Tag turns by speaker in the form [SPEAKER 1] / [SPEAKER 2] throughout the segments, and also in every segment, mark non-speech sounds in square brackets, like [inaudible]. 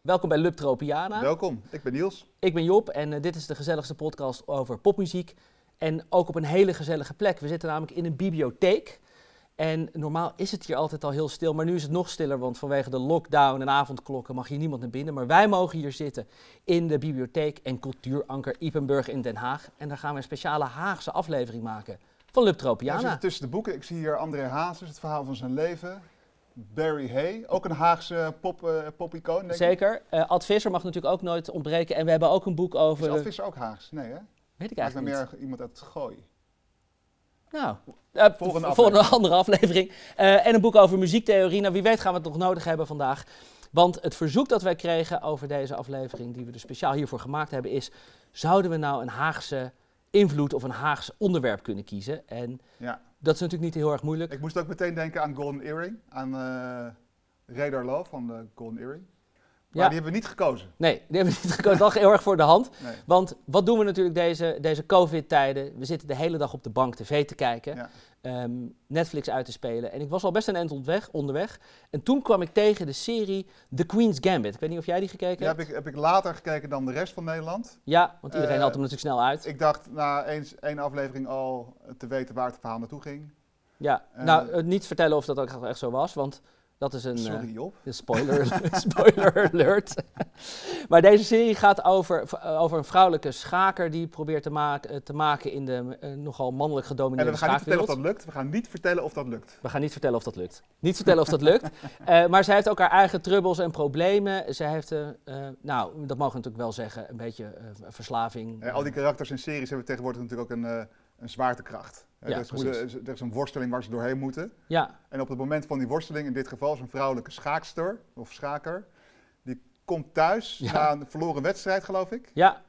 [SPEAKER 1] Welkom bij Lub Tropiana.
[SPEAKER 2] Welkom, ik ben Niels.
[SPEAKER 1] Ik ben Job en eh, dit is de gezelligste podcast over popmuziek. En ook op een hele gezellige plek. We zitten namelijk in een bibliotheek. En normaal is het hier altijd al heel stil, maar nu is het nog stiller, want vanwege de lockdown en avondklokken mag hier niemand naar binnen. Maar wij mogen hier zitten in de bibliotheek en cultuuranker Ipenburg in Den Haag. En daar gaan we een speciale Haagse aflevering maken van Lub
[SPEAKER 2] Ja, we
[SPEAKER 1] Tropiana.
[SPEAKER 2] zitten tussen de boeken. Ik zie hier André Hazes, het verhaal van zijn leven. Barry Hay, ook een Haagse pop, eh, popicoon, denk ik.
[SPEAKER 1] Zeker. Eh Ad Visser mag natuurlijk ook nooit ontbreken. En we hebben ook een boek
[SPEAKER 2] Is
[SPEAKER 1] over...
[SPEAKER 2] Ad Visser ook Haags? Nee, hè?
[SPEAKER 1] Weet ik
[SPEAKER 2] Lijkt me
[SPEAKER 1] eigenlijk eh, niet.
[SPEAKER 2] meer iemand uit het gooi.
[SPEAKER 1] Nou, eh,
[SPEAKER 2] Volgende
[SPEAKER 1] voor een
[SPEAKER 2] aflevering.
[SPEAKER 1] andere aflevering. Eh, en een boek over muziektheorie. Nou, wie weet gaan we het nog nodig hebben vandaag. Want het verzoek dat wij kregen over deze aflevering, die we dus speciaal hiervoor gemaakt hebben, is: zouden we nou een Haagse invloed of een Haags onderwerp kunnen kiezen? En
[SPEAKER 2] Ja.
[SPEAKER 1] dat is natuurlijk niet heel erg moeilijk.
[SPEAKER 2] Ik moest ook meteen denken aan Golden Earring, aan eh Radar Love van de Golden Earring. Maar
[SPEAKER 1] Ja.
[SPEAKER 2] die hebben we niet gekozen.
[SPEAKER 1] Nee, die hebben we niet [laughs] gekozen. Dat lag heel erg voor de hand.
[SPEAKER 2] Nee.
[SPEAKER 1] Want wat doen we natuurlijk deze, deze COVID-tijden? We zitten de hele dag op de bank tv te kijken,
[SPEAKER 2] Ja.
[SPEAKER 1] ehm, Netflix uit te spelen. En ik was al best een eind ontweg, onderweg. En toen kwam ik tegen de serie The Queen's Gambit. Ik weet niet of jij die gekeken
[SPEAKER 2] Die
[SPEAKER 1] hebt.
[SPEAKER 2] heb ik, heb ik later gekeken dan de rest van Nederland.
[SPEAKER 1] Ja, want iedereen
[SPEAKER 2] Eh,
[SPEAKER 1] had hem natuurlijk snel uit.
[SPEAKER 2] Ik dacht na eens, één aflevering al te weten waar het verhaal naartoe ging.
[SPEAKER 1] Ja,
[SPEAKER 2] eh,
[SPEAKER 1] nou, eh, niet vertellen of dat ook echt zo was, want dat is een... eh,
[SPEAKER 2] Sorry Job.
[SPEAKER 1] Een Spoiler, [laughs] spoiler alert. [laughs] maar deze serie gaat over, v- eh, over een vrouwelijke schaker die probeert te, maak- eh, te maken in de eh, nogal mannelijk
[SPEAKER 2] En
[SPEAKER 1] gedomineerde
[SPEAKER 2] we gaan niet vertellen
[SPEAKER 1] schaakwereld.
[SPEAKER 2] of dat lukt. We gaan niet vertellen of dat lukt.
[SPEAKER 1] We gaan niet vertellen of dat lukt. Niet vertellen of dat lukt. Eh, maar zij heeft ook haar eigen trubbels en problemen. Zij heeft, eh, eh, nou, dat mogen we natuurlijk wel zeggen, een beetje eh, verslaving.
[SPEAKER 2] Eh, al die karakters en series hebben tegenwoordig natuurlijk ook een, eh, een zwaartekracht. Eh,
[SPEAKER 1] Ja,
[SPEAKER 2] er, is, hoe
[SPEAKER 1] precies.
[SPEAKER 2] de- er is een worsteling waar ze doorheen moeten.
[SPEAKER 1] Ja,
[SPEAKER 2] En op het moment van die worsteling, in dit geval is een vrouwelijke schaakster of schaker, die komt thuis
[SPEAKER 1] Ja.
[SPEAKER 2] na een verloren wedstrijd, geloof ik.
[SPEAKER 1] ja.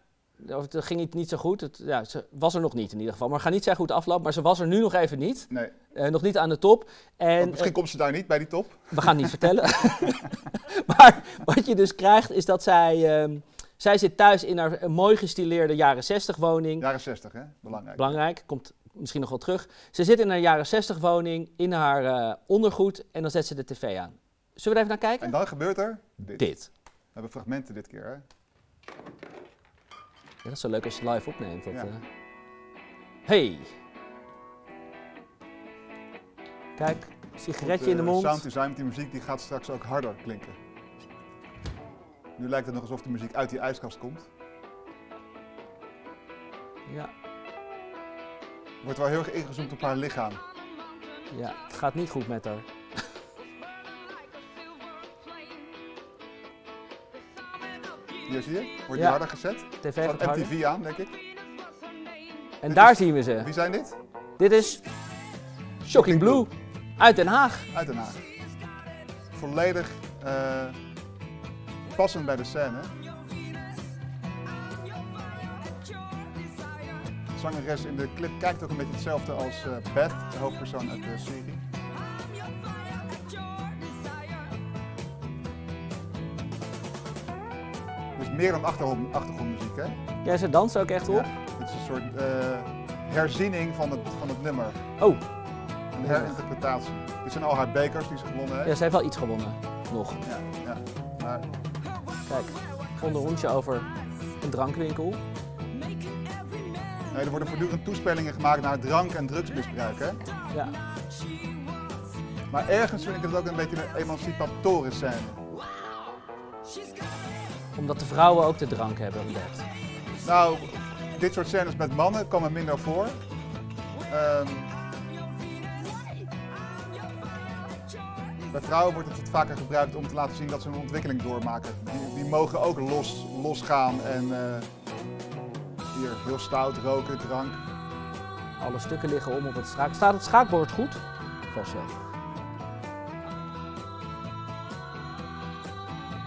[SPEAKER 1] Of het ging niet, niet zo goed. Het, ja, ze was er nog niet in ieder geval. Maar ga niet zeggen hoe het afloopt. Maar ze was er nu nog even niet.
[SPEAKER 2] Nee,
[SPEAKER 1] Eh, nog niet aan de top. En, eh,
[SPEAKER 2] want Oh, misschien komt ze daar niet bij die top.
[SPEAKER 1] We gaan het niet vertellen. [laughs] maar wat je dus krijgt is dat zij... ehm, zij zit thuis in haar eh, mooi gestileerde jaren 60 woning.
[SPEAKER 2] Jaren 60, hè? Belangrijk.
[SPEAKER 1] Belangrijk, komt misschien nog wel terug. Ze zit in haar jaren 60 woning, in haar eh, ondergoed en dan zet ze de tv aan. Zullen we er even naar kijken?
[SPEAKER 2] En dan gebeurt er dit.
[SPEAKER 1] Dit.
[SPEAKER 2] We hebben fragmenten dit keer, hè?
[SPEAKER 1] Ja, dat is zo leuk als je het live opneemt. Dat,
[SPEAKER 2] Ja.
[SPEAKER 1] eh. Hey. Kijk, sigaretje in de
[SPEAKER 2] Goed, eh, Sound
[SPEAKER 1] mond.
[SPEAKER 2] design met die muziek die gaat straks ook harder klinken. Nu lijkt het nog alsof de muziek uit die ijskast komt.
[SPEAKER 1] Ja,
[SPEAKER 2] Wordt wel heel erg ingezoomd op haar lichaam.
[SPEAKER 1] ja, het gaat niet goed met haar.
[SPEAKER 2] Hier zie je, wordt die
[SPEAKER 1] Ja.
[SPEAKER 2] harder gezet.
[SPEAKER 1] TV
[SPEAKER 2] Van
[SPEAKER 1] gaat harder.
[SPEAKER 2] MTV aan, denk ik.
[SPEAKER 1] En
[SPEAKER 2] Dit
[SPEAKER 1] daar
[SPEAKER 2] is-
[SPEAKER 1] zien we ze.
[SPEAKER 2] Wie zijn dit?
[SPEAKER 1] Dit is Shocking Blue uit Den Haag.
[SPEAKER 2] Uit Den Haag. Volledig eh, passend bij de scène. De zangeres in de clip kijkt ook een beetje hetzelfde als eh, Beth, de hoofdpersoon uit de serie. Dus meer dan achtergrond, achtergrondmuziek, hè?
[SPEAKER 1] Ja, ze dansen ook echt op.
[SPEAKER 2] Ja, Het is een soort eh, herziening van het, van het nummer.
[SPEAKER 1] Oh,
[SPEAKER 2] Een herinterpretatie. Dit zijn al haar bekers die ze gewonnen
[SPEAKER 1] ja,
[SPEAKER 2] heeft.
[SPEAKER 1] ze heeft wel iets gewonnen. Nog.
[SPEAKER 2] Ja, ja. Maar
[SPEAKER 1] Kijk, onderrondje over een drankwinkel.
[SPEAKER 2] nee, er worden voortdurend toespelingen gemaakt naar drank- en drugsmisbruik. Hè?
[SPEAKER 1] Ja,
[SPEAKER 2] Maar ergens vind ik het ook een beetje een emancipatoren scène.
[SPEAKER 1] omdat de vrouwen ook de drank hebben ontdekt.
[SPEAKER 2] Nou, dit soort scènes met mannen komen minder voor. Ehm, bij vrouwen wordt het wat vaker gebruikt om te laten zien dat ze een ontwikkeling doormaken. Die, die mogen ook los, losgaan en eh, hier heel stout roken, drank.
[SPEAKER 1] Alle stukken liggen om op het schaak. Staat het schaakbord goed? Vast wel.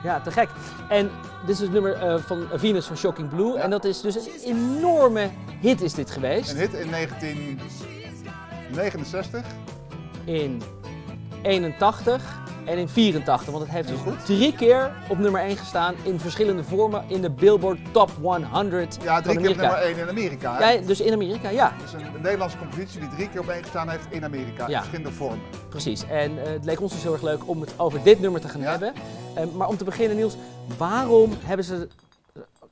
[SPEAKER 1] Ja, te gek. En dit is het nummer eh, van Venus van Shocking Blue.
[SPEAKER 2] Ja.
[SPEAKER 1] En dat is dus een enorme hit is dit geweest.
[SPEAKER 2] Een hit in 1969.
[SPEAKER 1] in 81 en in 84. Want het heeft dus drie keer op nummer 1 gestaan in verschillende vormen in de Billboard Top 100
[SPEAKER 2] Ja,
[SPEAKER 1] van
[SPEAKER 2] drie keer op
[SPEAKER 1] Amerika.
[SPEAKER 2] nummer 1 in Amerika. hè?
[SPEAKER 1] Ja, dus in Amerika, ja,
[SPEAKER 2] Dat is een, een Nederlandse compositie die drie keer op één gestaan heeft in Amerika.
[SPEAKER 1] Ja.
[SPEAKER 2] In verschillende vormen.
[SPEAKER 1] precies. En eh, het leek ons dus heel erg leuk om het over dit nummer te gaan
[SPEAKER 2] Ja.
[SPEAKER 1] hebben. Eh, Ehm, maar om te beginnen, Niels, waarom hebben ze.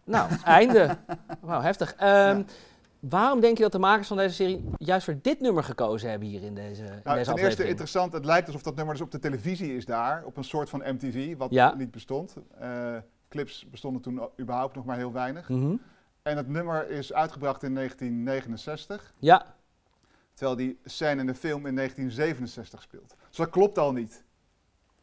[SPEAKER 1] Nou, [laughs] einde. Wauw, heftig. Ehm,
[SPEAKER 2] Ja.
[SPEAKER 1] Waarom denk je dat de makers van deze serie juist voor dit nummer gekozen hebben hier in deze, in
[SPEAKER 2] Nou,
[SPEAKER 1] deze
[SPEAKER 2] ten eerste
[SPEAKER 1] aflevering?
[SPEAKER 2] interessant, het lijkt alsof dat nummer dus op de televisie is daar, op een soort van MTV, wat
[SPEAKER 1] Ja.
[SPEAKER 2] niet bestond. Eh, clips bestonden toen o- überhaupt nog maar heel weinig.
[SPEAKER 1] Mhm.
[SPEAKER 2] En het nummer is uitgebracht in 1969,
[SPEAKER 1] Ja,
[SPEAKER 2] terwijl die scène in de film in 1967 speelt. Dus dat klopt al niet.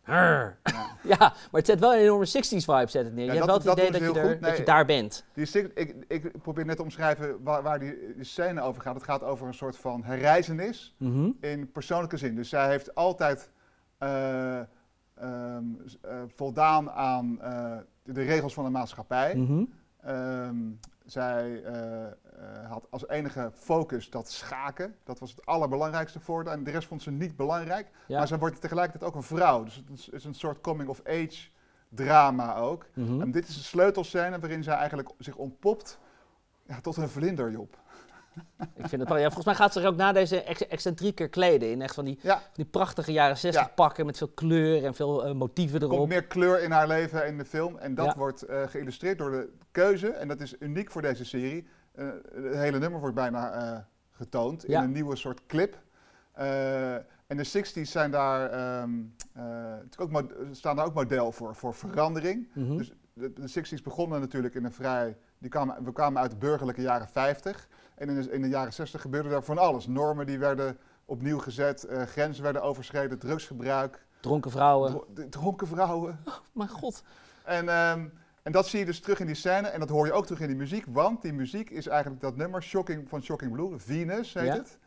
[SPEAKER 1] Arr.
[SPEAKER 2] Ja.
[SPEAKER 1] Ja, maar het zet wel een enorme 60s vibe zet het neer.
[SPEAKER 2] Ja,
[SPEAKER 1] je hebt
[SPEAKER 2] dat-
[SPEAKER 1] wel het
[SPEAKER 2] dat
[SPEAKER 1] idee dat
[SPEAKER 2] doen ze
[SPEAKER 1] je, er,
[SPEAKER 2] heel goed.
[SPEAKER 1] dat je
[SPEAKER 2] Nee.
[SPEAKER 1] daar bent.
[SPEAKER 2] Die sig- ik, ik probeer net te omschrijven waar, waar die, die scène over gaat. Het gaat over een soort van herreizenis.
[SPEAKER 1] Mhm.
[SPEAKER 2] in persoonlijke zin. Dus zij heeft altijd eh, ehm, s- eh, voldaan aan eh, de regels van de maatschappij.
[SPEAKER 1] Mhm.
[SPEAKER 2] Ehm, zij eh, eh, had als enige focus dat schaken. Dat was het allerbelangrijkste voor haar. En de rest vond ze niet belangrijk.
[SPEAKER 1] Ja.
[SPEAKER 2] Maar zij wordt tegelijkertijd ook een vrouw. Dus het is, is een soort coming-of-age drama ook.
[SPEAKER 1] Mhm.
[SPEAKER 2] En dit is de sleutelscène waarin zij eigenlijk zich ontpopt ja, tot een vlinderjob.
[SPEAKER 1] Ik vind het wel- ja, volgens mij gaat ze er ook na deze ex excentrieker kleden. In echt van die,
[SPEAKER 2] Ja.
[SPEAKER 1] die prachtige jaren 60
[SPEAKER 2] Ja.
[SPEAKER 1] pakken met veel kleur en veel eh, motieven
[SPEAKER 2] Er komt
[SPEAKER 1] erop.
[SPEAKER 2] meer kleur in haar leven in de film. En dat
[SPEAKER 1] Ja.
[SPEAKER 2] wordt eh, geïllustreerd door de keuze. En dat is uniek voor deze serie. Eh, het hele nummer wordt bijna eh, getoond
[SPEAKER 1] Ja.
[SPEAKER 2] in een nieuwe soort clip. Eh, en de 60s zijn daar, ehm, eh, natuurlijk ook mod- staan daar ook model voor, voor verandering.
[SPEAKER 1] Mhm.
[SPEAKER 2] Dus de, de 60s begonnen natuurlijk in een vrij. Die kwamen, we kwamen uit de burgerlijke jaren 50. En in de, in de jaren 60 gebeurde daar van alles. Normen die werden opnieuw gezet, eh, grenzen werden overschreden, drugsgebruik,
[SPEAKER 1] Dronken vrouwen.
[SPEAKER 2] dro- d- dronken vrouwen.
[SPEAKER 1] Mijn god.
[SPEAKER 2] En, ehm, en dat zie je dus terug in die scène en dat hoor je ook terug in die muziek, want die muziek is eigenlijk dat nummer Shocking, van Shocking Blue, Venus heet
[SPEAKER 1] Ja.
[SPEAKER 2] het.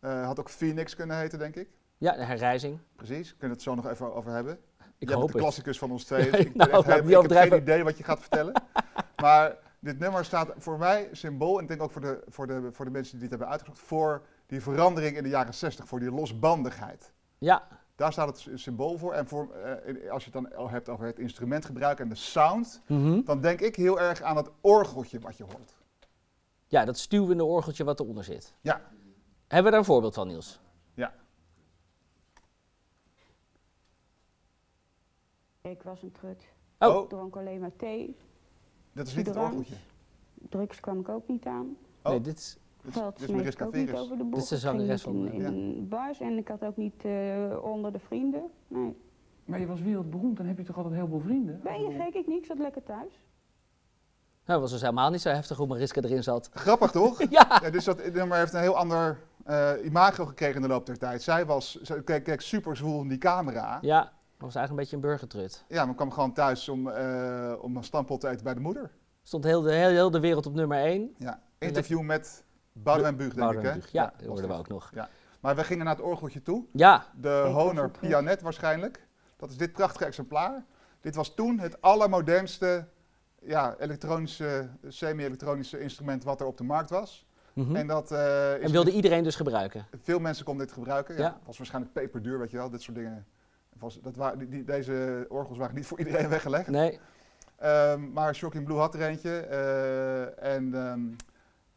[SPEAKER 2] Eh, had ook Phoenix kunnen heten, denk ik.
[SPEAKER 1] Ja, de herrijzing.
[SPEAKER 2] Precies, kunnen we het zo nog even over hebben.
[SPEAKER 1] Ik
[SPEAKER 2] Jij bent
[SPEAKER 1] hoop
[SPEAKER 2] de
[SPEAKER 1] het.
[SPEAKER 2] klassicus van
[SPEAKER 1] [laughs]
[SPEAKER 2] ons twee.
[SPEAKER 1] Ja,
[SPEAKER 2] dus ik, ben
[SPEAKER 1] nou,
[SPEAKER 2] echt
[SPEAKER 1] laat me
[SPEAKER 2] helemaal-
[SPEAKER 1] niet
[SPEAKER 2] ik heb geen
[SPEAKER 1] overdrijven.
[SPEAKER 2] idee wat je gaat
[SPEAKER 1] [laughs]
[SPEAKER 2] vertellen. maar dit nummer staat voor mij symbool, en ik denk ook voor de, voor de, voor de mensen die dit hebben uitgezocht, voor die verandering in de jaren 60, voor die losbandigheid.
[SPEAKER 1] Ja,
[SPEAKER 2] Daar staat het s- symbool voor. En voor, eh, als je het dan al hebt over het instrumentgebruik en de sound,
[SPEAKER 1] Mhm.
[SPEAKER 2] dan denk ik heel erg aan het orgeltje wat je hoort.
[SPEAKER 1] ja, dat stuwende orgeltje wat eronder zit.
[SPEAKER 2] Ja.
[SPEAKER 1] Hebben we daar een voorbeeld van, Niels?
[SPEAKER 3] Ik was een trut.
[SPEAKER 1] Oh.
[SPEAKER 3] Dronk alleen maar thee.
[SPEAKER 2] dat is niet het
[SPEAKER 3] drank.
[SPEAKER 2] orgeltje.
[SPEAKER 3] Drugs kwam ik ook niet aan.
[SPEAKER 2] Oh.
[SPEAKER 1] Nee, dit is...
[SPEAKER 2] Dit is,
[SPEAKER 3] Geld
[SPEAKER 2] dit is
[SPEAKER 3] smeet
[SPEAKER 2] Mariska
[SPEAKER 3] ik ook niet
[SPEAKER 2] Veres.
[SPEAKER 3] over de boeg.
[SPEAKER 1] is de
[SPEAKER 3] Ik ging
[SPEAKER 1] zangeres
[SPEAKER 3] niet
[SPEAKER 1] van,
[SPEAKER 3] in, in een bars en ik had ook niet eh, onder de vrienden. Nee.
[SPEAKER 4] Maar je was wereldberoemd, dan heb je toch altijd heel veel vrienden?
[SPEAKER 3] Ben je gek? Ik niks. Zat lekker thuis.
[SPEAKER 1] Nou, dat was dus helemaal niet zo heftig hoe Mariska erin zat.
[SPEAKER 2] Grappig toch?
[SPEAKER 3] [laughs]
[SPEAKER 1] Ja.
[SPEAKER 2] Ja, dus dat dit nummer heeft een heel ander eh, imago gekregen in de loop der tijd. Zij was, zij keek, keek super zwoel in die camera. Ja,
[SPEAKER 1] Ja, dat was eigenlijk een beetje een burgertrut.
[SPEAKER 2] maar kwam gewoon thuis om, eh, om een stampot te eten bij de moeder.
[SPEAKER 1] Stond heel de, heel, heel de wereld op nummer 1.
[SPEAKER 2] Ja. Interview met Boudewijn Buug, denk ik. Hè?
[SPEAKER 1] Ja, dat hoorden we ook nog.
[SPEAKER 2] Maar we gingen naar het orgeltje toe.
[SPEAKER 1] Ja,
[SPEAKER 2] De
[SPEAKER 3] Ik was
[SPEAKER 2] Honor
[SPEAKER 3] een trut.
[SPEAKER 2] Pianet waarschijnlijk. Dat is dit prachtige exemplaar. Dit was toen het allermodernste ja, elektronische, semi-elektronische instrument wat er op de markt was.
[SPEAKER 1] mhm.
[SPEAKER 2] En dat eh, is
[SPEAKER 1] En wilde iedereen dus gebruiken.
[SPEAKER 2] Veel mensen konden dit gebruiken. Ja.
[SPEAKER 1] Ja.
[SPEAKER 2] Was waarschijnlijk peperduur, weet je wel, dit soort dingen. Was, dat waren, die, die- deze orgels waren niet voor iedereen [laughs] weggelegd.
[SPEAKER 1] Nee.
[SPEAKER 2] Ehm, maar Shocking Blue had er eentje. eh, en ehm,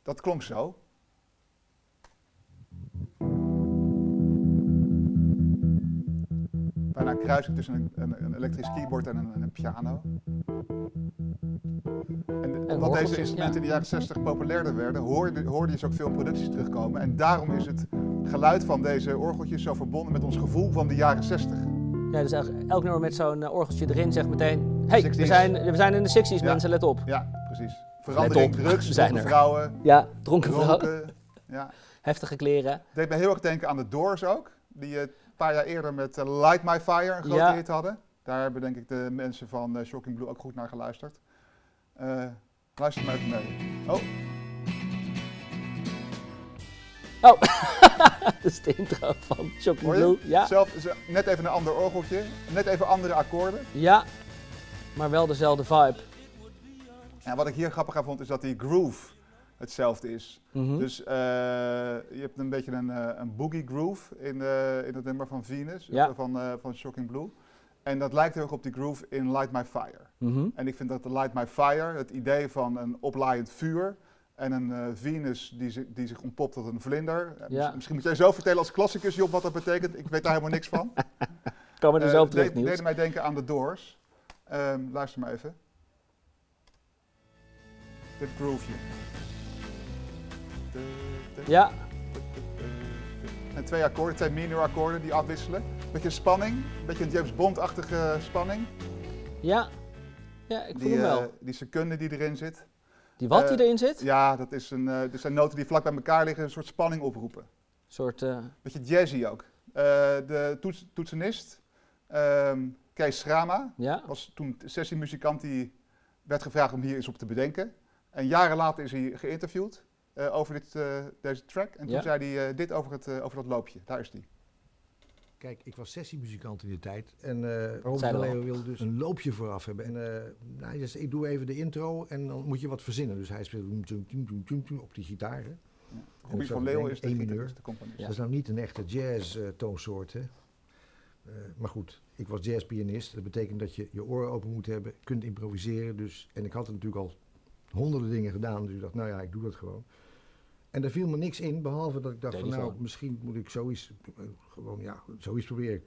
[SPEAKER 2] dat klonk zo. Bijna een kruising tussen een, een, een elektrisch keyboard en een, en een piano. En de- omdat
[SPEAKER 1] orgeltjes,
[SPEAKER 2] deze instrumenten in de jaren 60 populairder werden, hoorde, hoorde je ze ook veel in producties terugkomen. En daarom is het geluid van deze orgeltjes zo verbonden met ons gevoel van de jaren 60.
[SPEAKER 1] Ja, dus eigenlijk elk nummer met zo'n eh, orgeltje erin zegt meteen... hey, we
[SPEAKER 2] 60s.
[SPEAKER 1] zijn, we zijn in de 60s,
[SPEAKER 2] Ja.
[SPEAKER 1] mensen, let op.
[SPEAKER 2] Ja, precies. Verandering,
[SPEAKER 1] op, [laughs]
[SPEAKER 2] drugs,
[SPEAKER 1] we zijn
[SPEAKER 2] dronken
[SPEAKER 1] er.
[SPEAKER 2] vrouwen.
[SPEAKER 1] Ja, dronken vrouw,
[SPEAKER 2] Roken. Ja.
[SPEAKER 1] heftige kleren. [laughs]
[SPEAKER 2] Het deed me heel erg denken aan de Doors ook. Die eh, een paar jaar eerder met eh, Light My Fire een grote
[SPEAKER 1] Ja.
[SPEAKER 2] hit hadden. Daar hebben denk ik de mensen van eh, Shocking Blue ook goed naar geluisterd. Eh, luister maar even mee. Oh,
[SPEAKER 1] Dat is de intro van Shocking
[SPEAKER 2] Hoor je?
[SPEAKER 1] Blue. Ja,
[SPEAKER 2] Zelf, ze- net even een ander orgeltje. Net even andere akkoorden.
[SPEAKER 1] ja, maar wel dezelfde vibe.
[SPEAKER 2] En wat ik hier grappig aan vond is dat die groove hetzelfde is.
[SPEAKER 1] Mhm.
[SPEAKER 2] Dus eh, je hebt een beetje een, eh, een boogie groove in, eh, in het nummer van Venus, of,
[SPEAKER 1] Ja.
[SPEAKER 2] eh, van, eh, van Shocking Blue. En dat lijkt heel erg op die groove in Light My Fire.
[SPEAKER 1] Mhm.
[SPEAKER 2] En ik vind dat de Light My Fire, het idee van een oplaaiend vuur en een eh, Venus die, zich- die zich ontpopt tot een vlinder. Eh,
[SPEAKER 1] Ja.
[SPEAKER 2] mis- Misschien moet jij zo vertellen als klassicus,
[SPEAKER 1] [laughs]
[SPEAKER 2] Job, wat dat betekent. Ik weet daar helemaal niks van.
[SPEAKER 1] Komen we er zo
[SPEAKER 2] Eh,
[SPEAKER 1] op terug,
[SPEAKER 2] deed-
[SPEAKER 1] Niels.
[SPEAKER 2] deed mij denken aan de Doors. Ehm, luister maar even. Dit groove
[SPEAKER 1] Ja,
[SPEAKER 2] En twee akkoorden, twee minor akkoorden die afwisselen. Beetje spanning, beetje een James Bond-achtige spanning.
[SPEAKER 1] ja. Ja, ik voel
[SPEAKER 2] die,
[SPEAKER 1] hem wel.
[SPEAKER 2] eh, die secunde die erin zit.
[SPEAKER 1] die wat die
[SPEAKER 2] eh,
[SPEAKER 1] erin zit? Een
[SPEAKER 2] Ja, dat is een, eh, er zijn noten die vlak bij elkaar liggen, een soort spanning oproepen.
[SPEAKER 1] soort... eh,
[SPEAKER 2] Beetje jazzy ook. Eh, de toets- toetsenist, ehm, Kees Schrama,
[SPEAKER 1] ja.
[SPEAKER 2] was toen sessiemuzikant die werd gevraagd om hier eens op te bedenken. En jaren later is hij geïnterviewd eh, over dit, eh, deze track. En toen
[SPEAKER 1] Ja.
[SPEAKER 2] zei hij eh, dit over, het, eh, over dat loopje. Daar is die.
[SPEAKER 5] Kijk, ik was sessiemuzikant in die tijd. En eh
[SPEAKER 1] Zeiden
[SPEAKER 5] Robert van
[SPEAKER 1] we al.
[SPEAKER 5] Leeuwen wilde dus een loopje vooraf hebben. En eh, nou, hij zei, ik doe even de intro en dan moet je wat verzinnen. Dus hij speelde toen, toen, toen, toen, toen, toen op die gitaar. hè.
[SPEAKER 2] Robbie
[SPEAKER 5] zou
[SPEAKER 2] van Leeuwen
[SPEAKER 5] denken,
[SPEAKER 2] is de,
[SPEAKER 5] Oh, één
[SPEAKER 2] gitar-
[SPEAKER 5] mineur.
[SPEAKER 2] is de componist.
[SPEAKER 5] Dat is nou niet een echte jazz-toonsoort, hè. Eh, maar goed, ik was jazzpianist. Dat betekent dat je je oren open moet hebben, kunt improviseren. Dus, en ik had natuurlijk al honderden dingen gedaan. Dus ik dacht, nou ja, ik doe dat gewoon. En daar viel me niks in, behalve dat ik dacht
[SPEAKER 1] Deed
[SPEAKER 5] van
[SPEAKER 1] hij
[SPEAKER 5] nou,
[SPEAKER 1] gewoon.
[SPEAKER 5] misschien moet ik zoiets, eh, gewoon ja, zoiets proberen.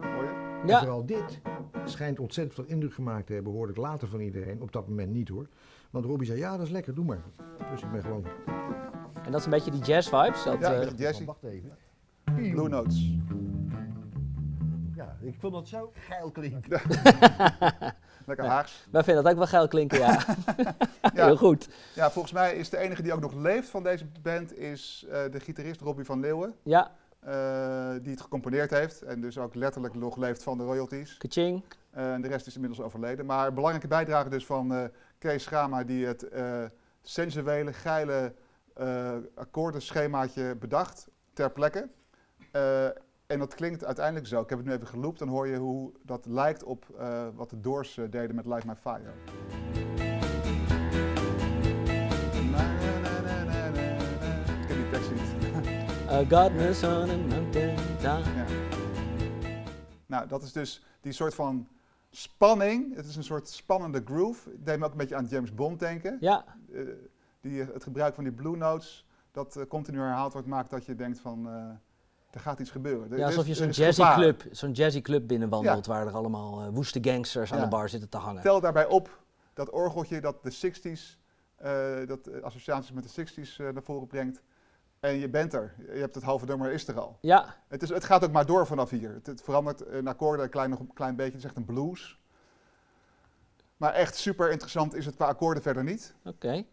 [SPEAKER 2] Hoor je?
[SPEAKER 5] En
[SPEAKER 1] Ja,
[SPEAKER 5] vooral dit schijnt ontzettend veel indruk gemaakt te hebben, hoorde ik later van iedereen. Op dat moment niet hoor. Want Robbie zei, ja dat is lekker, doe maar. Dus ik ben gewoon...
[SPEAKER 1] en dat is een beetje die jazz vibes. Dat,
[SPEAKER 2] Ja,
[SPEAKER 1] eh,
[SPEAKER 2] een beetje jazzy.
[SPEAKER 5] Wacht even.
[SPEAKER 2] Blue Notes.
[SPEAKER 5] Ja, ik vond dat zo geil klinken.
[SPEAKER 2] Lekker Haags.
[SPEAKER 1] wij vinden dat ook wel geil klinken, ja. Heel
[SPEAKER 2] [laughs] Ja,
[SPEAKER 1] goed.
[SPEAKER 2] ja, volgens mij is de enige die ook nog leeft van deze band is eh, de gitarist Robbie van Leeuwen.
[SPEAKER 1] Ja,
[SPEAKER 2] eh, die het gecomponeerd heeft en dus ook letterlijk nog leeft van de royalties.
[SPEAKER 1] kaching.
[SPEAKER 2] Eh, en de rest is inmiddels overleden. Maar een belangrijke bijdrage dus van eh, Kees Schama, die het eh, sensuele, geile eh, akkoordenschemaatje bedacht ter plekke. Eh, en dat klinkt uiteindelijk zo. Ik heb het nu even geloopt, dan hoor je hoe dat lijkt op eh, wat de Doors eh, deden met Light My Fire. Ik ken die tekst niet.
[SPEAKER 1] I got my son in mountain time.
[SPEAKER 2] Ja. Nou, dat is dus die soort van spanning. Het is een soort spannende groove. Het deed me ook een beetje aan James Bond denken.
[SPEAKER 1] Ja,
[SPEAKER 2] Eh, die, het gebruik van die blue notes, dat eh, continu herhaald wordt, maakt dat je denkt van, eh, er gaat iets gebeuren. Er-
[SPEAKER 1] ja
[SPEAKER 2] er is-
[SPEAKER 1] alsof je
[SPEAKER 2] er
[SPEAKER 1] zo'n
[SPEAKER 2] is
[SPEAKER 1] jazzy
[SPEAKER 2] gevaar.
[SPEAKER 1] club, zo'n jazzy club binnenwandelt waar er allemaal eh, woeste gangsters aan
[SPEAKER 2] Ja.
[SPEAKER 1] de bar zitten te hangen.
[SPEAKER 2] Tel daarbij op dat orgeltje dat de 60s, eh, dat eh, associaties met de 60s eh, naar voren brengt. En je bent er. Je hebt het halve nummer, is er al.
[SPEAKER 1] Ja,
[SPEAKER 2] Het, is, het gaat ook maar door vanaf hier. Het, het verandert een akkoorden een klein, nog een klein beetje. Het is echt een blues. Maar echt super interessant is het qua akkoorden verder niet.
[SPEAKER 1] oké.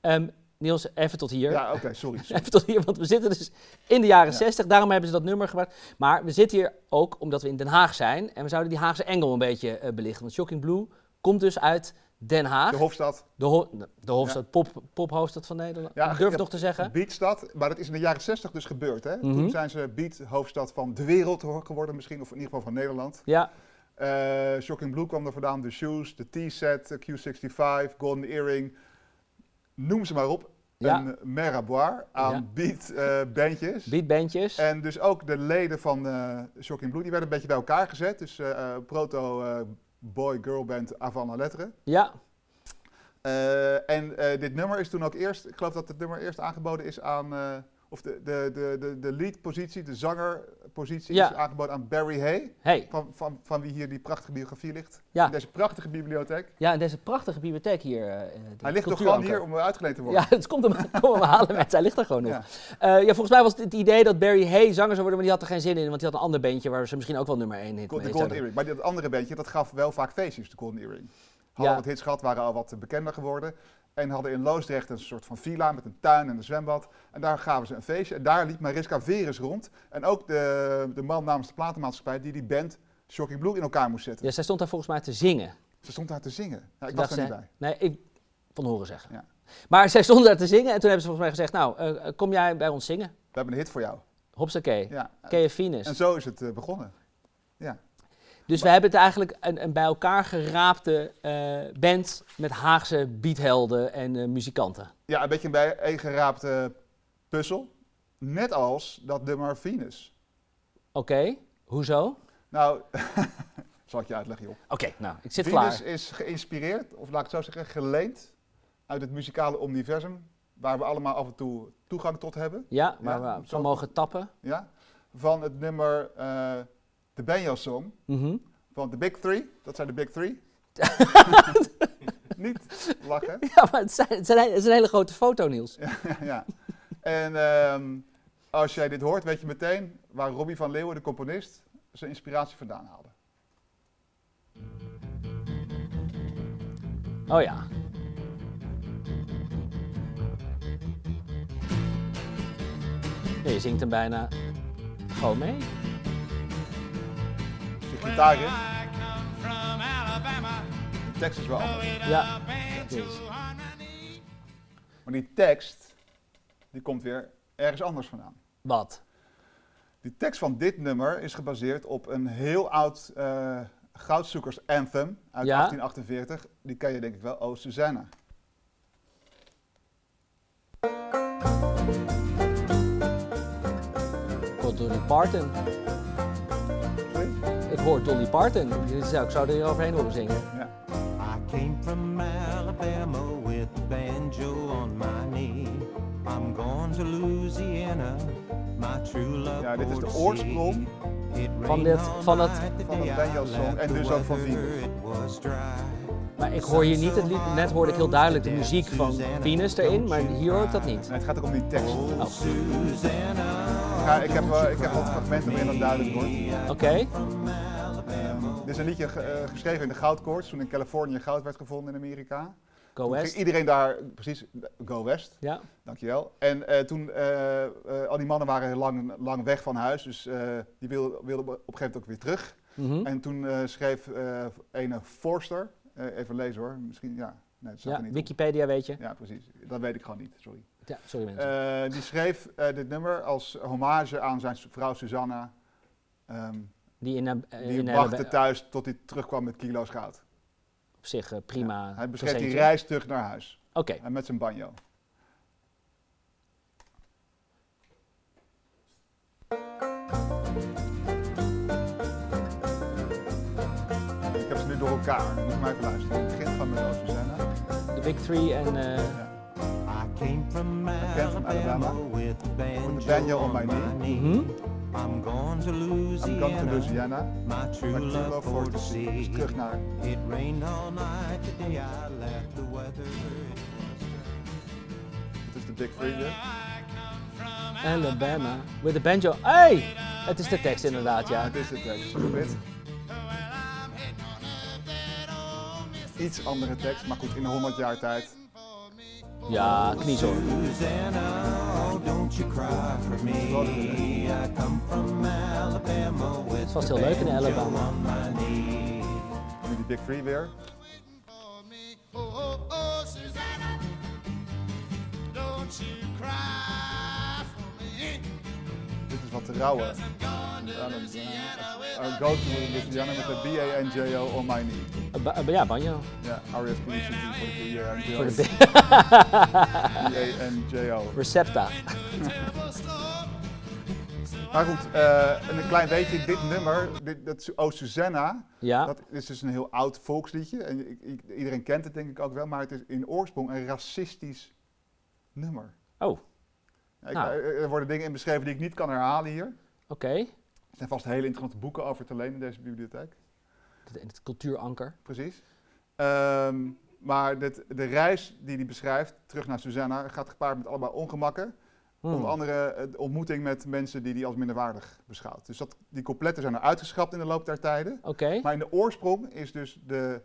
[SPEAKER 1] Ehm, Niels, even tot hier.
[SPEAKER 2] Ja, oké, sorry.
[SPEAKER 1] [laughs]
[SPEAKER 2] sorry.
[SPEAKER 1] Even tot hier, want we zitten dus in de jaren
[SPEAKER 2] Ja.
[SPEAKER 1] 60. Daarom hebben ze dat nummer gemaakt. Maar we zitten hier ook omdat we in Den Haag zijn. En we zouden die Haagse engel een beetje eh, belichten. Want Shocking Blue komt dus uit Den Haag.
[SPEAKER 2] De Hofstad,
[SPEAKER 1] De, ho- de hoofdstad, pop, pophoofdstad van Nederland.
[SPEAKER 2] Ja,
[SPEAKER 1] Ik durf
[SPEAKER 2] ja.
[SPEAKER 1] toch te zeggen.
[SPEAKER 2] Beatstad. Maar dat is in de jaren 60 dus gebeurd. Hè?
[SPEAKER 1] Mhm.
[SPEAKER 2] Toen zijn ze Beat, hoofdstad van de wereld ho- geworden misschien. Of in ieder geval van Nederland.
[SPEAKER 1] Ja,
[SPEAKER 2] Eh, Shocking Blue kwam er vandaan. De Shoes, de T-set, de Q65, Golden Earring. Noem ze maar op.
[SPEAKER 1] Ja.
[SPEAKER 2] Een merraboir aan
[SPEAKER 1] Ja.
[SPEAKER 2] beat eh,
[SPEAKER 1] [laughs]
[SPEAKER 2] bandjes.
[SPEAKER 1] beatbandjes.
[SPEAKER 2] En dus ook de leden van eh Shocking Blue, die werden een beetje bij elkaar gezet. Dus eh, eh, proto eh, boy-girl band Avant la Lettre.
[SPEAKER 1] Ja,
[SPEAKER 2] Eh, en eh, dit nummer is toen ook eerst, ik geloof dat het nummer eerst aangeboden is aan, eh, of de, de, de, de, de lead-positie, de zangerpositie
[SPEAKER 1] Ja.
[SPEAKER 2] is aangeboden aan Barry Hay.
[SPEAKER 1] hey.
[SPEAKER 2] Van, van, van wie hier die prachtige biografie ligt.
[SPEAKER 1] Ja.
[SPEAKER 2] In deze prachtige bibliotheek.
[SPEAKER 1] Ja, en deze prachtige bibliotheek hier. eh, eh, de
[SPEAKER 2] Hij ligt toch gewoon
[SPEAKER 1] cultuuranker.
[SPEAKER 2] hier om uitgeleend te worden.
[SPEAKER 1] Ja, [laughs] het komt
[SPEAKER 2] [laughs]
[SPEAKER 1] hem, kom hem halen, mensen. Hij ligt er gewoon nog.
[SPEAKER 2] Ja.
[SPEAKER 1] Eh, ja, volgens mij was het, het idee dat Barry Hay zanger zou worden, maar die had er geen zin in, want die had een ander bandje waar ze misschien ook wel nummer 1 hit
[SPEAKER 2] Go- De
[SPEAKER 1] mee
[SPEAKER 2] Golden
[SPEAKER 1] zouden.
[SPEAKER 2] Earring. Maar dat andere bandje, dat gaf wel vaak feestjes, de Golden Earring. Hadden
[SPEAKER 1] Ja.
[SPEAKER 2] wat hits gehad, waren al wat eh, bekender geworden. En hadden in Loosdrecht een soort van villa met een tuin en een zwembad. En daar gaven ze een feestje. En daar liep Mariska Veres rond. En ook de, de man namens de platenmaatschappij die die band Shocking Blue in elkaar moest zetten.
[SPEAKER 1] Ja, zij stond daar volgens mij te zingen.
[SPEAKER 2] Ze stond daar te zingen. Nou, ik
[SPEAKER 1] Dacht
[SPEAKER 2] was er niet
[SPEAKER 1] zij-
[SPEAKER 2] bij.
[SPEAKER 1] Nee, ik van horen zeggen.
[SPEAKER 2] Ja.
[SPEAKER 1] Maar zij stond daar te zingen en toen hebben ze volgens mij gezegd, nou, eh, eh, kom jij bij ons zingen?
[SPEAKER 2] We hebben een hit voor jou.
[SPEAKER 1] Hopsakee,
[SPEAKER 2] Ja.
[SPEAKER 1] Kea Venus.
[SPEAKER 2] En zo is het eh, begonnen.
[SPEAKER 1] Dus we hebben het eigenlijk een, een bij elkaar geraapte eh, band met Haagse beathelden en eh, muzikanten.
[SPEAKER 2] Ja, een beetje een bijeengeraapte puzzel. Net als dat nummer Venus.
[SPEAKER 1] Oké, hoezo? Oké,
[SPEAKER 2] Nou, [laughs] zal ik je uitleggen, joh.
[SPEAKER 1] nou, ik zit
[SPEAKER 2] Venus
[SPEAKER 1] klaar.
[SPEAKER 2] is geïnspireerd, of laat ik het zo zeggen, geleend uit het muzikale universum, waar we allemaal af en toe toegang tot hebben,
[SPEAKER 1] Ja, maar
[SPEAKER 2] Ja,
[SPEAKER 1] we
[SPEAKER 2] zo-
[SPEAKER 1] van mogen tappen.
[SPEAKER 2] ja? van het nummer eh de Benjo-song
[SPEAKER 1] Mhm.
[SPEAKER 2] van de Big Three. Dat zijn de Big Three. Niet lachen.
[SPEAKER 1] [laughs]
[SPEAKER 2] [laughs]
[SPEAKER 1] Ja, maar het, zijn, het, zijn, het is een hele grote foto, Niels.
[SPEAKER 2] ja. En ehm, als jij dit hoort, weet je meteen waar Robbie van Leeuwen, de componist, zijn inspiratie vandaan haalde.
[SPEAKER 1] Oh ja. Ja, je zingt hem bijna gewoon mee.
[SPEAKER 2] Dus die
[SPEAKER 6] Well,
[SPEAKER 2] gitaar in,
[SPEAKER 6] I come from Alabama, Oh,
[SPEAKER 2] de tekst is wel anders.
[SPEAKER 6] going
[SPEAKER 1] Ja.
[SPEAKER 6] up and
[SPEAKER 1] Yes.
[SPEAKER 6] to harmony.
[SPEAKER 2] Maar die tekst, die komt weer ergens anders vandaan.
[SPEAKER 1] Wat?
[SPEAKER 2] Die tekst van dit nummer is gebaseerd op een heel oud eh goudzoekers-anthem uit
[SPEAKER 1] Ja.
[SPEAKER 2] 1848. Die ken je denk ik wel, Oh Susanna.
[SPEAKER 1] Ik hoor Dolly Parton. Ik hoor Dolly Parton. Je zou- Ik zou er hier overheen horen zingen.
[SPEAKER 2] Ja.
[SPEAKER 7] I came from Alabama with the banjo on my knee. I'm going to Louisiana, my true love.
[SPEAKER 2] Ja, dit is de
[SPEAKER 7] bore to
[SPEAKER 2] oorsprong
[SPEAKER 7] see. It
[SPEAKER 1] van
[SPEAKER 7] rained
[SPEAKER 1] dit-
[SPEAKER 7] all
[SPEAKER 1] van het-
[SPEAKER 7] night the
[SPEAKER 2] van het
[SPEAKER 7] day I
[SPEAKER 2] banjo-song
[SPEAKER 7] left
[SPEAKER 2] en
[SPEAKER 7] the
[SPEAKER 2] dus ook van
[SPEAKER 7] weather,
[SPEAKER 2] Venus.
[SPEAKER 7] it was dry.
[SPEAKER 1] Maar ik hoor hier niet het lied. Net hoorde ik heel duidelijk de muziek van Venus erin, maar hier hoor ik dat niet.
[SPEAKER 2] Nee, het gaat ook om die tekst.
[SPEAKER 7] Oh, Susanna.
[SPEAKER 2] Ja, ik, heb, eh, ik heb wat fragmenten waarin dat duidelijk wordt.
[SPEAKER 1] Oké.
[SPEAKER 2] Ehm, dit is een liedje ge- eh, geschreven in de goudkoorts, toen in Californië goud werd gevonden in Amerika.
[SPEAKER 1] Go
[SPEAKER 2] Toen ging
[SPEAKER 1] West.
[SPEAKER 2] iedereen daar, precies, go west.
[SPEAKER 1] Ja.
[SPEAKER 2] Dankjewel. En eh, toen, eh, eh, al die mannen waren lang, lang weg van huis, dus eh, die wilden, wilden op een gegeven moment ook weer terug.
[SPEAKER 1] Mhm.
[SPEAKER 2] En toen eh, schreef eh ene Forster, eh, even lezen hoor, misschien, ja, nee, dat staat
[SPEAKER 1] ja.
[SPEAKER 2] er niet op.
[SPEAKER 1] Wikipedia weet je.
[SPEAKER 2] Ja, precies. Dat weet ik gewoon niet, sorry.
[SPEAKER 1] Ja, sorry mensen.
[SPEAKER 2] Eh, die schreef eh, dit nummer als hommage aan zijn su- vrouw Susanna. Ehm,
[SPEAKER 1] Die in, eh,
[SPEAKER 2] die
[SPEAKER 1] in
[SPEAKER 2] wachtte
[SPEAKER 1] eh,
[SPEAKER 2] thuis tot hij terugkwam met kilo's goud.
[SPEAKER 1] op zich eh, prima.
[SPEAKER 2] Hij beschreef die
[SPEAKER 1] presentje.
[SPEAKER 2] reis terug naar huis.
[SPEAKER 1] Oké.
[SPEAKER 2] En met zijn banjo. Ik heb ze nu door elkaar. Moet je maar even luisteren. Het begint gewoon met Oh Susanna.
[SPEAKER 1] De Big Three en. eh,
[SPEAKER 2] Ja.
[SPEAKER 7] I came from Alabama with the
[SPEAKER 2] With the
[SPEAKER 7] banjo
[SPEAKER 2] banjo
[SPEAKER 7] on my knee.
[SPEAKER 1] mhm.
[SPEAKER 7] I'm going to
[SPEAKER 2] I'm going to
[SPEAKER 7] Louisiana,
[SPEAKER 2] Louisiana.
[SPEAKER 7] my
[SPEAKER 2] Maar
[SPEAKER 7] true
[SPEAKER 2] True
[SPEAKER 7] love
[SPEAKER 2] Love
[SPEAKER 7] for
[SPEAKER 2] Force
[SPEAKER 7] to
[SPEAKER 2] is- is
[SPEAKER 7] see.
[SPEAKER 2] terug naar
[SPEAKER 7] It rained all night the day I left the weather. It was dry.
[SPEAKER 2] Het is de Big Three weer.
[SPEAKER 1] Alabama. With the banjo. Hey! Het is de tekst inderdaad,
[SPEAKER 2] Ja,
[SPEAKER 1] ja.
[SPEAKER 2] het is het tekst. Zo wit. Iets andere tekst, maar goed, in 100 jaar tijd.
[SPEAKER 1] Ja, kniezoor.
[SPEAKER 7] Susanna, oh, don't you cry for me. I come from Alabama
[SPEAKER 1] Het
[SPEAKER 7] with
[SPEAKER 1] was heel leuk in Alabama.
[SPEAKER 7] on my knee.
[SPEAKER 2] Nu die Big Three weer.
[SPEAKER 6] For me, oh, oh, oh, Susanna, don't you cry for me.
[SPEAKER 2] Dit is wat te rouwen. I go to Louisiana met de B-A-N-J-O on oh my knee.
[SPEAKER 1] Eh, ba- eh, ja, banjo.
[SPEAKER 2] Ja, RSP
[SPEAKER 1] Voor de
[SPEAKER 2] is
[SPEAKER 1] ba-
[SPEAKER 2] B-A-N-J-O.
[SPEAKER 1] Recepta.
[SPEAKER 6] Terrible storm.
[SPEAKER 2] Maar goed, eh, en een klein beetje, dit nummer, dit, dat is Oh Susanna,
[SPEAKER 1] Ja.
[SPEAKER 2] dat is dus een heel oud volksliedje. En ik- ik- iedereen kent het denk ik ook wel, maar het is in oorsprong een racistisch nummer.
[SPEAKER 1] Oh, oké.
[SPEAKER 2] Ja, ik-
[SPEAKER 1] Nou.
[SPEAKER 2] eh, Er worden dingen in beschreven die ik niet kan herhalen hier. Er zijn vast hele interessante boeken over te lenen in deze bibliotheek.
[SPEAKER 1] Het- Het cultuuranker.
[SPEAKER 2] Precies. Ehm, maar dit, de reis die hij beschrijft, terug naar Susanna, gaat gepaard met allemaal ongemakken.
[SPEAKER 1] Hmm.
[SPEAKER 2] Onder andere eh, de ontmoeting met mensen die hij als minderwaardig beschouwt. Dus dat, die coupletten zijn er uitgeschrapt in de loop der tijden.
[SPEAKER 1] Oké.
[SPEAKER 2] Maar in de oorsprong is dus de,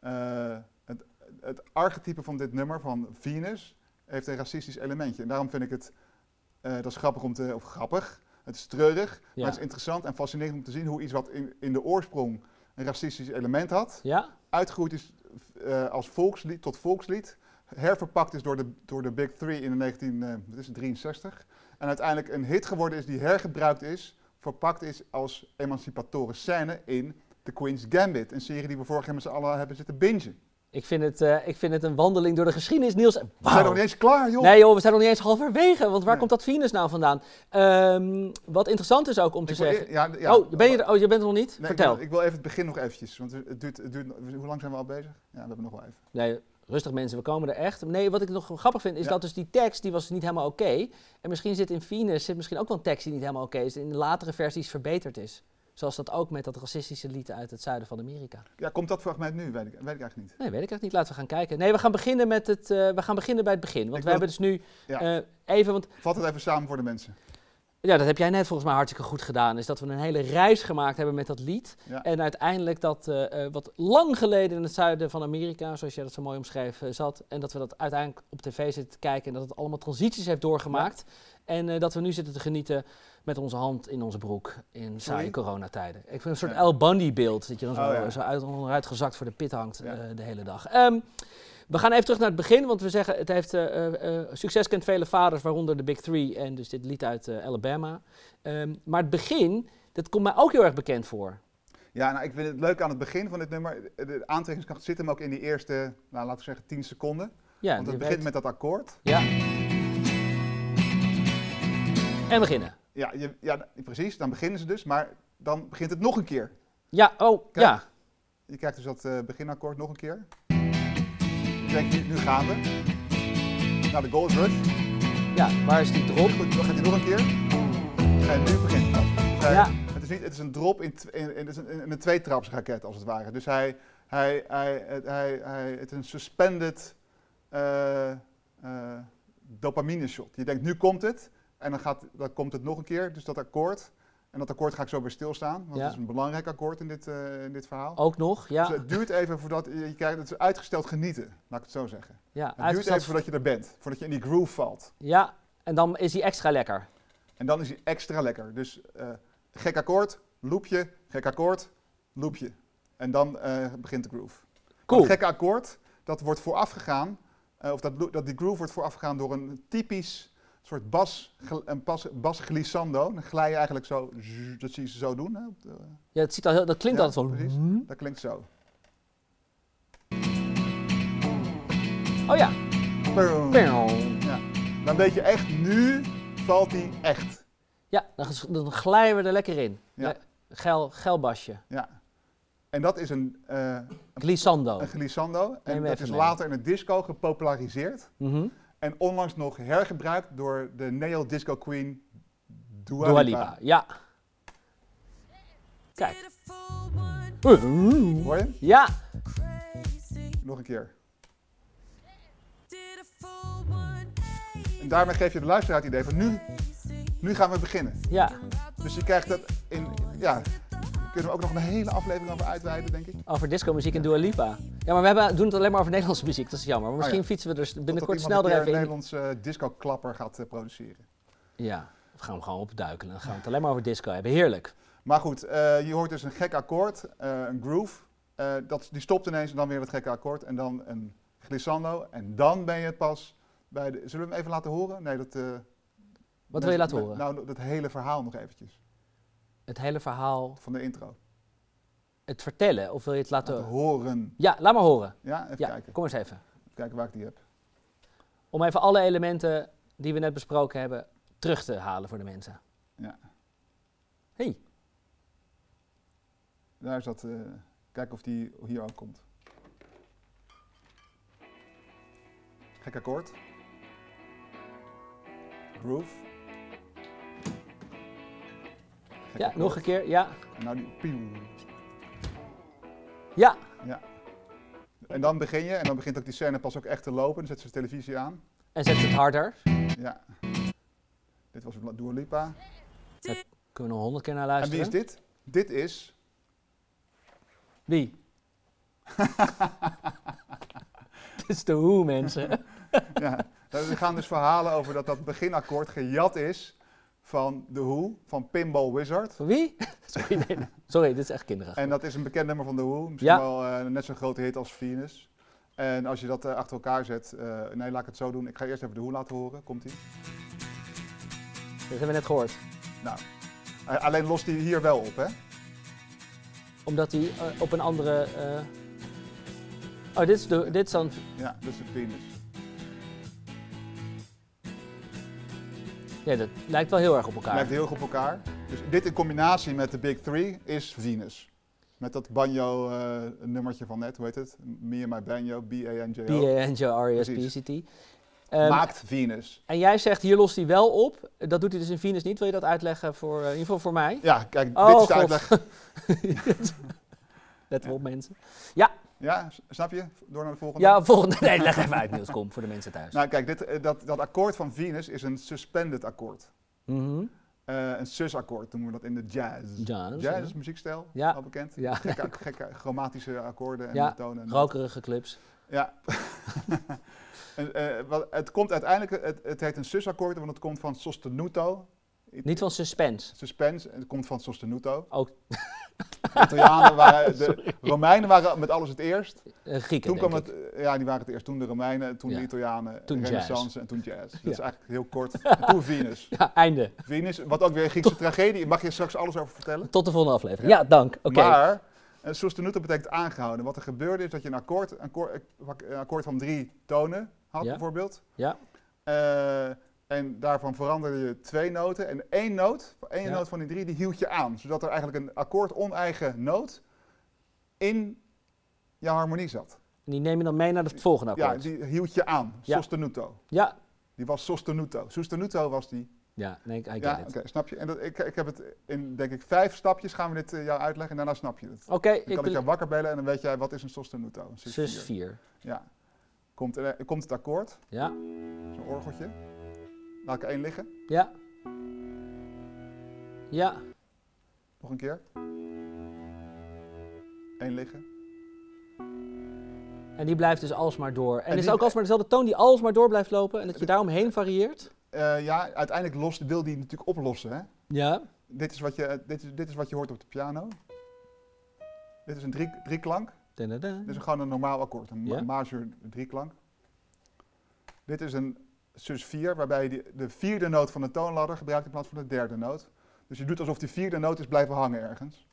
[SPEAKER 2] eh, het, het archetype van dit nummer van Venus heeft een racistisch elementje. En daarom vind ik het, eh, dat is grappig om te, of grappig, het is treurig,
[SPEAKER 1] Ja.
[SPEAKER 2] maar het is interessant en fascinerend om te zien hoe iets wat in, in de oorsprong een racistisch element had,
[SPEAKER 1] Ja?
[SPEAKER 2] uitgegroeid is eh, als volkslied, tot volkslied, herverpakt is door de, door de Big Three in de eh, 1963 en uiteindelijk een hit geworden is die hergebruikt is, verpakt is als emancipatoren scène in The Queen's Gambit, een serie die we vorig jaar met z'n allen hebben zitten bingen.
[SPEAKER 1] Ik vind, het, eh, ik vind het een wandeling door de geschiedenis, Niels.
[SPEAKER 2] We zijn nog
[SPEAKER 1] Wauw.
[SPEAKER 2] niet eens klaar, joh!
[SPEAKER 1] Nee joh, we zijn nog niet eens halverwege, want waar
[SPEAKER 2] Nee.
[SPEAKER 1] komt dat Venus nou vandaan? Ehm, wat interessant is ook om te
[SPEAKER 2] Ik wil e-
[SPEAKER 1] zeggen...
[SPEAKER 2] ja, ja.
[SPEAKER 1] oh, ben je er, oh, je bent er nog niet?
[SPEAKER 2] Nee,
[SPEAKER 1] Vertel.
[SPEAKER 2] Ik wil, ik wil even het begin nog eventjes, want het duurt, het duurt, hoe lang zijn we al bezig? Ja, we hebben nog wel even.
[SPEAKER 1] Nee, rustig mensen, we komen er echt. Nee, wat ik nog grappig vind, is
[SPEAKER 2] Ja.
[SPEAKER 1] dat dus die tekst, die was niet helemaal oké. En misschien zit in Venus zit misschien ook wel een tekst die niet helemaal oké is, en in de latere versies verbeterd is. Zoals dat ook met dat racistische lied uit het zuiden van Amerika.
[SPEAKER 2] Ja, komt dat fragment nu? Weet ik, weet ik eigenlijk niet.
[SPEAKER 1] Nee, weet ik echt niet. Laten we gaan kijken. Nee, we gaan beginnen, met het, eh, we gaan beginnen bij het begin. Want
[SPEAKER 2] Ik
[SPEAKER 1] we
[SPEAKER 2] wil-
[SPEAKER 1] hebben dus nu
[SPEAKER 2] Ja.
[SPEAKER 1] eh, even, want
[SPEAKER 2] Vat het even samen voor de mensen.
[SPEAKER 1] ja, dat heb jij net volgens mij hartstikke goed gedaan. Is dat we een hele reis gemaakt hebben met dat lied.
[SPEAKER 2] Ja.
[SPEAKER 1] En uiteindelijk dat eh, eh, wat lang geleden in het zuiden van Amerika, zoals jij dat zo mooi omschreef, eh, zat. En dat we dat uiteindelijk op tv zitten te kijken en dat het allemaal transities heeft doorgemaakt. En eh, dat we nu zitten te genieten met onze hand in onze broek in saaie
[SPEAKER 2] Sorry?
[SPEAKER 1] coronatijden. Ik vind een soort
[SPEAKER 2] Ja.
[SPEAKER 1] El Bundy beeld, dat je dan zo,
[SPEAKER 2] Oh, ja.
[SPEAKER 1] zo uit, onderuit gezakt voor de pit hangt
[SPEAKER 2] Ja.
[SPEAKER 1] eh, de hele dag. Ehm, we gaan even terug naar het begin, want we zeggen het heeft eh, eh, eh, succes kent vele vaders, waaronder de Big Three en dus dit lied uit eh, Alabama. Ehm, maar het begin, dat komt mij ook heel erg bekend voor.
[SPEAKER 2] Ja, nou, ik vind het leuk aan het begin van dit nummer. De aantrekkingskracht zit hem ook in die eerste, nou, laten we zeggen, 10 seconden.
[SPEAKER 1] Ja,
[SPEAKER 2] Want
[SPEAKER 1] je
[SPEAKER 2] het begint
[SPEAKER 1] weet-
[SPEAKER 2] met dat akkoord.
[SPEAKER 1] Ja. En beginnen.
[SPEAKER 2] Ja, je, ja, precies, dan beginnen ze dus, maar dan begint het nog een keer.
[SPEAKER 1] Ja, oh,
[SPEAKER 2] Kijk.
[SPEAKER 1] ja.
[SPEAKER 2] Je krijgt dus dat eh, beginakkoord nog een keer. Dan denk je, nu gaan we. Nou, de Gold Rush.
[SPEAKER 1] Ja, waar is die drop?
[SPEAKER 2] Goed, dan gaat hij nog een keer. En nu begint het. Dus hij-
[SPEAKER 1] Ja.
[SPEAKER 2] het, is niet, het is een drop in, tw- in, in, het is een, in een tweetrapsraket, als het ware. Dus hij, hij, hij, het, hij, hij, het is een suspended eh, eh, dopamine shot. Je denkt, nu komt het. En dan, gaat, dan komt het nog een keer, dus dat akkoord. En dat akkoord ga ik zo bij stilstaan, want
[SPEAKER 1] Ja.
[SPEAKER 2] het is een belangrijk akkoord in dit, eh, in dit verhaal.
[SPEAKER 1] Ook nog, ja.
[SPEAKER 2] Dus het duurt even voordat je, je krijgt, het is uitgesteld genieten, laat ik het zo zeggen. Het
[SPEAKER 1] ja,
[SPEAKER 2] duurt even
[SPEAKER 1] uitgesteld-
[SPEAKER 2] voordat je er bent, voordat je in die groove valt.
[SPEAKER 1] ja, en dan is die extra lekker.
[SPEAKER 2] En dan is hij extra lekker. Dus eh, gek akkoord, loopje, gek akkoord, loopje. En dan eh, begint de groove.
[SPEAKER 1] Cool.
[SPEAKER 2] Dat gekke akkoord, dat wordt voorafgegaan, eh, of dat, lo- dat die groove wordt voorafgegaan door een typisch soort bas, gl- een pas, bas glissando. Dan glij je eigenlijk zo, zzz, dat zie je ze zo doen. Hè, op de-
[SPEAKER 1] Ja, dat, ziet al heel, dat klinkt
[SPEAKER 2] Ja,
[SPEAKER 1] altijd wel. Hmm?
[SPEAKER 2] precies. dat klinkt zo.
[SPEAKER 1] Oh ja.
[SPEAKER 2] Pum. Ja. Dan weet je echt, nu valt hij echt.
[SPEAKER 1] Ja, dan, ges- dan glijden we er lekker in.
[SPEAKER 2] Ja.
[SPEAKER 1] Le- Geil, geil basje.
[SPEAKER 2] Ja. En dat is een, eh,
[SPEAKER 1] Glissando.
[SPEAKER 2] een glissando.
[SPEAKER 1] Neem
[SPEAKER 2] En dat
[SPEAKER 1] even
[SPEAKER 2] is
[SPEAKER 1] mee.
[SPEAKER 2] later in het disco gepopulariseerd.
[SPEAKER 1] Mhm.
[SPEAKER 2] En onlangs nog hergebruikt door de neo-disco queen Dua,
[SPEAKER 1] Dua
[SPEAKER 2] Lipa.
[SPEAKER 1] Lipa, ja. Kijk.
[SPEAKER 2] Hoor je hem?
[SPEAKER 1] Ja,
[SPEAKER 2] Nog een keer. En daarmee geef je de luisteraar het idee van nu, nu gaan we beginnen.
[SPEAKER 1] ja.
[SPEAKER 2] Dus je krijgt dat in, ja, daar kunnen we ook nog een hele aflevering over uitweiden, denk ik.
[SPEAKER 1] Over disco-muziek en Dua Lipa. Ja, maar we hebben, doen het alleen maar over Nederlandse muziek, dat is jammer. Maar
[SPEAKER 2] Oh, ja.
[SPEAKER 1] misschien fietsen we er
[SPEAKER 2] Totdat
[SPEAKER 1] binnenkort
[SPEAKER 2] iemand
[SPEAKER 1] snel
[SPEAKER 2] een
[SPEAKER 1] er
[SPEAKER 2] keer
[SPEAKER 1] even in.
[SPEAKER 2] een Nederlandse disco-klapper gaat eh, produceren.
[SPEAKER 1] Ja, we gaan hem gewoon opduiken. Dan gaan we het alleen maar over disco hebben. Heerlijk.
[SPEAKER 2] Maar goed, eh, je hoort dus een gek akkoord, eh, een groove. Eh, dat, die stopt ineens en dan weer dat gekke akkoord. En dan een glissando. En dan ben je pas bij de... Zullen we hem even laten horen? Nee, dat...
[SPEAKER 1] Wat
[SPEAKER 2] eh,
[SPEAKER 1] wil je
[SPEAKER 2] mensen-
[SPEAKER 1] laten horen?
[SPEAKER 2] Nou, dat hele verhaal nog eventjes.
[SPEAKER 1] het hele verhaal,
[SPEAKER 2] Van de intro.
[SPEAKER 1] het vertellen, of wil je het laten...
[SPEAKER 2] Laten horen.
[SPEAKER 1] Ja, laat maar horen.
[SPEAKER 2] Ja, even
[SPEAKER 1] Ja,
[SPEAKER 2] kijken.
[SPEAKER 1] kom eens even.
[SPEAKER 2] Even kijken waar ik die heb.
[SPEAKER 1] Om even alle elementen die we net besproken hebben terug te halen voor de mensen.
[SPEAKER 2] Ja.
[SPEAKER 1] Hey.
[SPEAKER 2] Daar is dat... eh kijken of die hier ook komt. Gek akkoord. Groove. Gek
[SPEAKER 1] Ja,
[SPEAKER 2] akkoord.
[SPEAKER 1] nog een keer. Ja,
[SPEAKER 2] En nou die pieuw.
[SPEAKER 1] ja.
[SPEAKER 2] Ja. En dan begin je, en dan begint ook die scène pas ook echt te lopen. Dan zet ze de televisie aan.
[SPEAKER 1] En zet het harder.
[SPEAKER 2] Ja. Dit was Dua Lipa.
[SPEAKER 1] Kunnen we nog honderd keer naar
[SPEAKER 2] En wie
[SPEAKER 1] luisteren?
[SPEAKER 2] is dit? Dit is... [laughs]
[SPEAKER 1] Wie? Dit is de hoe, mensen.
[SPEAKER 2] [laughs] Ja, er gaan dus verhalen over dat dat beginakkoord gejat is van The Who, van Pinball Wizard.
[SPEAKER 1] Van wie? Sorry, nee, nee. Sorry, dit is echt kinderachtig.
[SPEAKER 2] En dat is een bekend nummer van The Who. Misschien
[SPEAKER 1] Ja.
[SPEAKER 2] wel eh, net zo'n grote hit als Venus. En als je dat eh, achter elkaar zet... eh, nee, laat ik het zo doen. Ik ga eerst even The Who laten horen. Komt-ie.
[SPEAKER 1] Dat hebben we net gehoord.
[SPEAKER 2] Nou, eh, alleen lost die hier wel op, hè?
[SPEAKER 1] Omdat hij eh, op een andere... eh, Oh, dit is, de, dit is dan...
[SPEAKER 2] Ja, dat is de Venus.
[SPEAKER 1] Ja, dat lijkt wel heel erg op elkaar.
[SPEAKER 2] Lijkt heel erg op elkaar. Dus dit in combinatie met de Big Three is Venus. Met dat eh, banjo-nummertje van net, hoe heet het? Me and my banjo, B-A-N-J-O.
[SPEAKER 1] E B-A-N-J-R-E-S-P-C-T. Ehm,
[SPEAKER 2] maakt Venus.
[SPEAKER 1] En jij zegt, hier lost hij wel op. Dat doet hij dus in Venus niet. Wil je dat uitleggen voor, eh, in ieder geval voor
[SPEAKER 2] [laughs]
[SPEAKER 1] mij?
[SPEAKER 2] Ja, kijk,
[SPEAKER 1] Oh,
[SPEAKER 2] dit is de
[SPEAKER 1] God.
[SPEAKER 2] uitleg.
[SPEAKER 1] Let wel op mensen.
[SPEAKER 2] Ja, s- snap je? Door naar de volgende.
[SPEAKER 1] Ja, volgende. Nee, leg even uit Niels, kom, voor de mensen thuis.
[SPEAKER 2] Nou, kijk, dit, eh, dat, dat akkoord van Venus is een suspended akkoord.
[SPEAKER 1] Mhm.
[SPEAKER 2] Eh, een sus-akkoord noemen we dat in de jazz.
[SPEAKER 1] Jazz, ja.
[SPEAKER 2] is muziekstijl,
[SPEAKER 1] Ja.
[SPEAKER 2] al bekend.
[SPEAKER 1] Ja.
[SPEAKER 2] Gekke, [laughs] gekke chromatische akkoorden en
[SPEAKER 1] Ja,
[SPEAKER 2] tonen. en dat.
[SPEAKER 1] Rokerige clips.
[SPEAKER 2] Ja. en, eh, wat, het komt uiteindelijk, het, het heet een sus-akkoord, want het komt van sostenuto.
[SPEAKER 1] Niet van suspense.
[SPEAKER 2] Suspense, en het komt van sostenuto.
[SPEAKER 1] Ook
[SPEAKER 2] De
[SPEAKER 1] [laughs]
[SPEAKER 2] Italianen waren, de Romeinen waren met alles het eerst.
[SPEAKER 1] eh, Grieken,
[SPEAKER 2] Toen kwam
[SPEAKER 1] denk
[SPEAKER 2] het, eh, ja, die waren het eerst. Toen de Romeinen, toen
[SPEAKER 1] Ja.
[SPEAKER 2] de Italianen,
[SPEAKER 1] Toen jazz.
[SPEAKER 2] Renaissance en toen jazz. Dat
[SPEAKER 1] Ja.
[SPEAKER 2] is eigenlijk heel kort. En Toen
[SPEAKER 1] [laughs]
[SPEAKER 2] Venus.
[SPEAKER 1] ik. Ja, einde.
[SPEAKER 2] Venus, wat ook weer een Griekse tragedie. Mag je straks alles over vertellen?
[SPEAKER 1] Tot de volgende aflevering. Ja, dank. Oké.
[SPEAKER 2] Maar eh, een sostenuto betekent aangehouden. Wat er gebeurde is dat je een akkoord, een akkoor- een eh, akkoord van drie tonen had,
[SPEAKER 1] Ja.
[SPEAKER 2] bijvoorbeeld.
[SPEAKER 1] Ja.
[SPEAKER 2] Eh, en daarvan veranderde je twee noten. En één noot, één
[SPEAKER 1] Ja.
[SPEAKER 2] noot van die drie, die hield je aan. Zodat er eigenlijk een akkoord oneigen noot in je harmonie zat.
[SPEAKER 1] En die neem je dan mee naar het volgende
[SPEAKER 2] Ja,
[SPEAKER 1] akkoord. Ja,
[SPEAKER 2] die hield je aan.
[SPEAKER 1] Ja.
[SPEAKER 2] Sostenuto.
[SPEAKER 1] ja.
[SPEAKER 2] Die was sostenuto. Sostenuto was die.
[SPEAKER 1] nee, ik I get
[SPEAKER 2] ja,
[SPEAKER 1] it.
[SPEAKER 2] oké, snap je? En dat, ik, ik heb het in, denk ik, vijf stapjes gaan we dit eh, jou uitleggen en daarna snap je het.
[SPEAKER 1] Oké,
[SPEAKER 2] Dan
[SPEAKER 1] ik
[SPEAKER 2] kan ik jou
[SPEAKER 1] wil...
[SPEAKER 2] wakker bellen en dan weet jij wat is een sostenuto. Een
[SPEAKER 1] Sus
[SPEAKER 2] vier.
[SPEAKER 1] 4.
[SPEAKER 2] Ja. Komt, er- komt het akkoord,
[SPEAKER 1] Ja,
[SPEAKER 2] zo'n orgeltje. Laat ik er één liggen,
[SPEAKER 1] ja. Ja,
[SPEAKER 2] nog een keer. Eén liggen.
[SPEAKER 1] en die blijft dus alsmaar door. En,
[SPEAKER 2] En
[SPEAKER 1] is het
[SPEAKER 2] die-
[SPEAKER 1] ook alsmaar dezelfde toon die alsmaar door blijft lopen en dat je
[SPEAKER 2] Dit-
[SPEAKER 1] daaromheen varieert?
[SPEAKER 2] Eh, ja, uiteindelijk lost, wil die natuurlijk oplossen. Hè?
[SPEAKER 1] Ja.
[SPEAKER 2] Dit, is wat je, dit, is, dit is wat je hoort op de piano. Dit is een drie, drieklank.
[SPEAKER 1] Da-da-da.
[SPEAKER 2] Dit is gewoon een normaal akkoord, een ma-
[SPEAKER 1] Ja.
[SPEAKER 2] major drieklank. Dit is een sus 4, waarbij je die- de vierde noot van de toonladder gebruikt in plaats van de derde noot. Dus je doet alsof die vierde noot is blijven hangen ergens.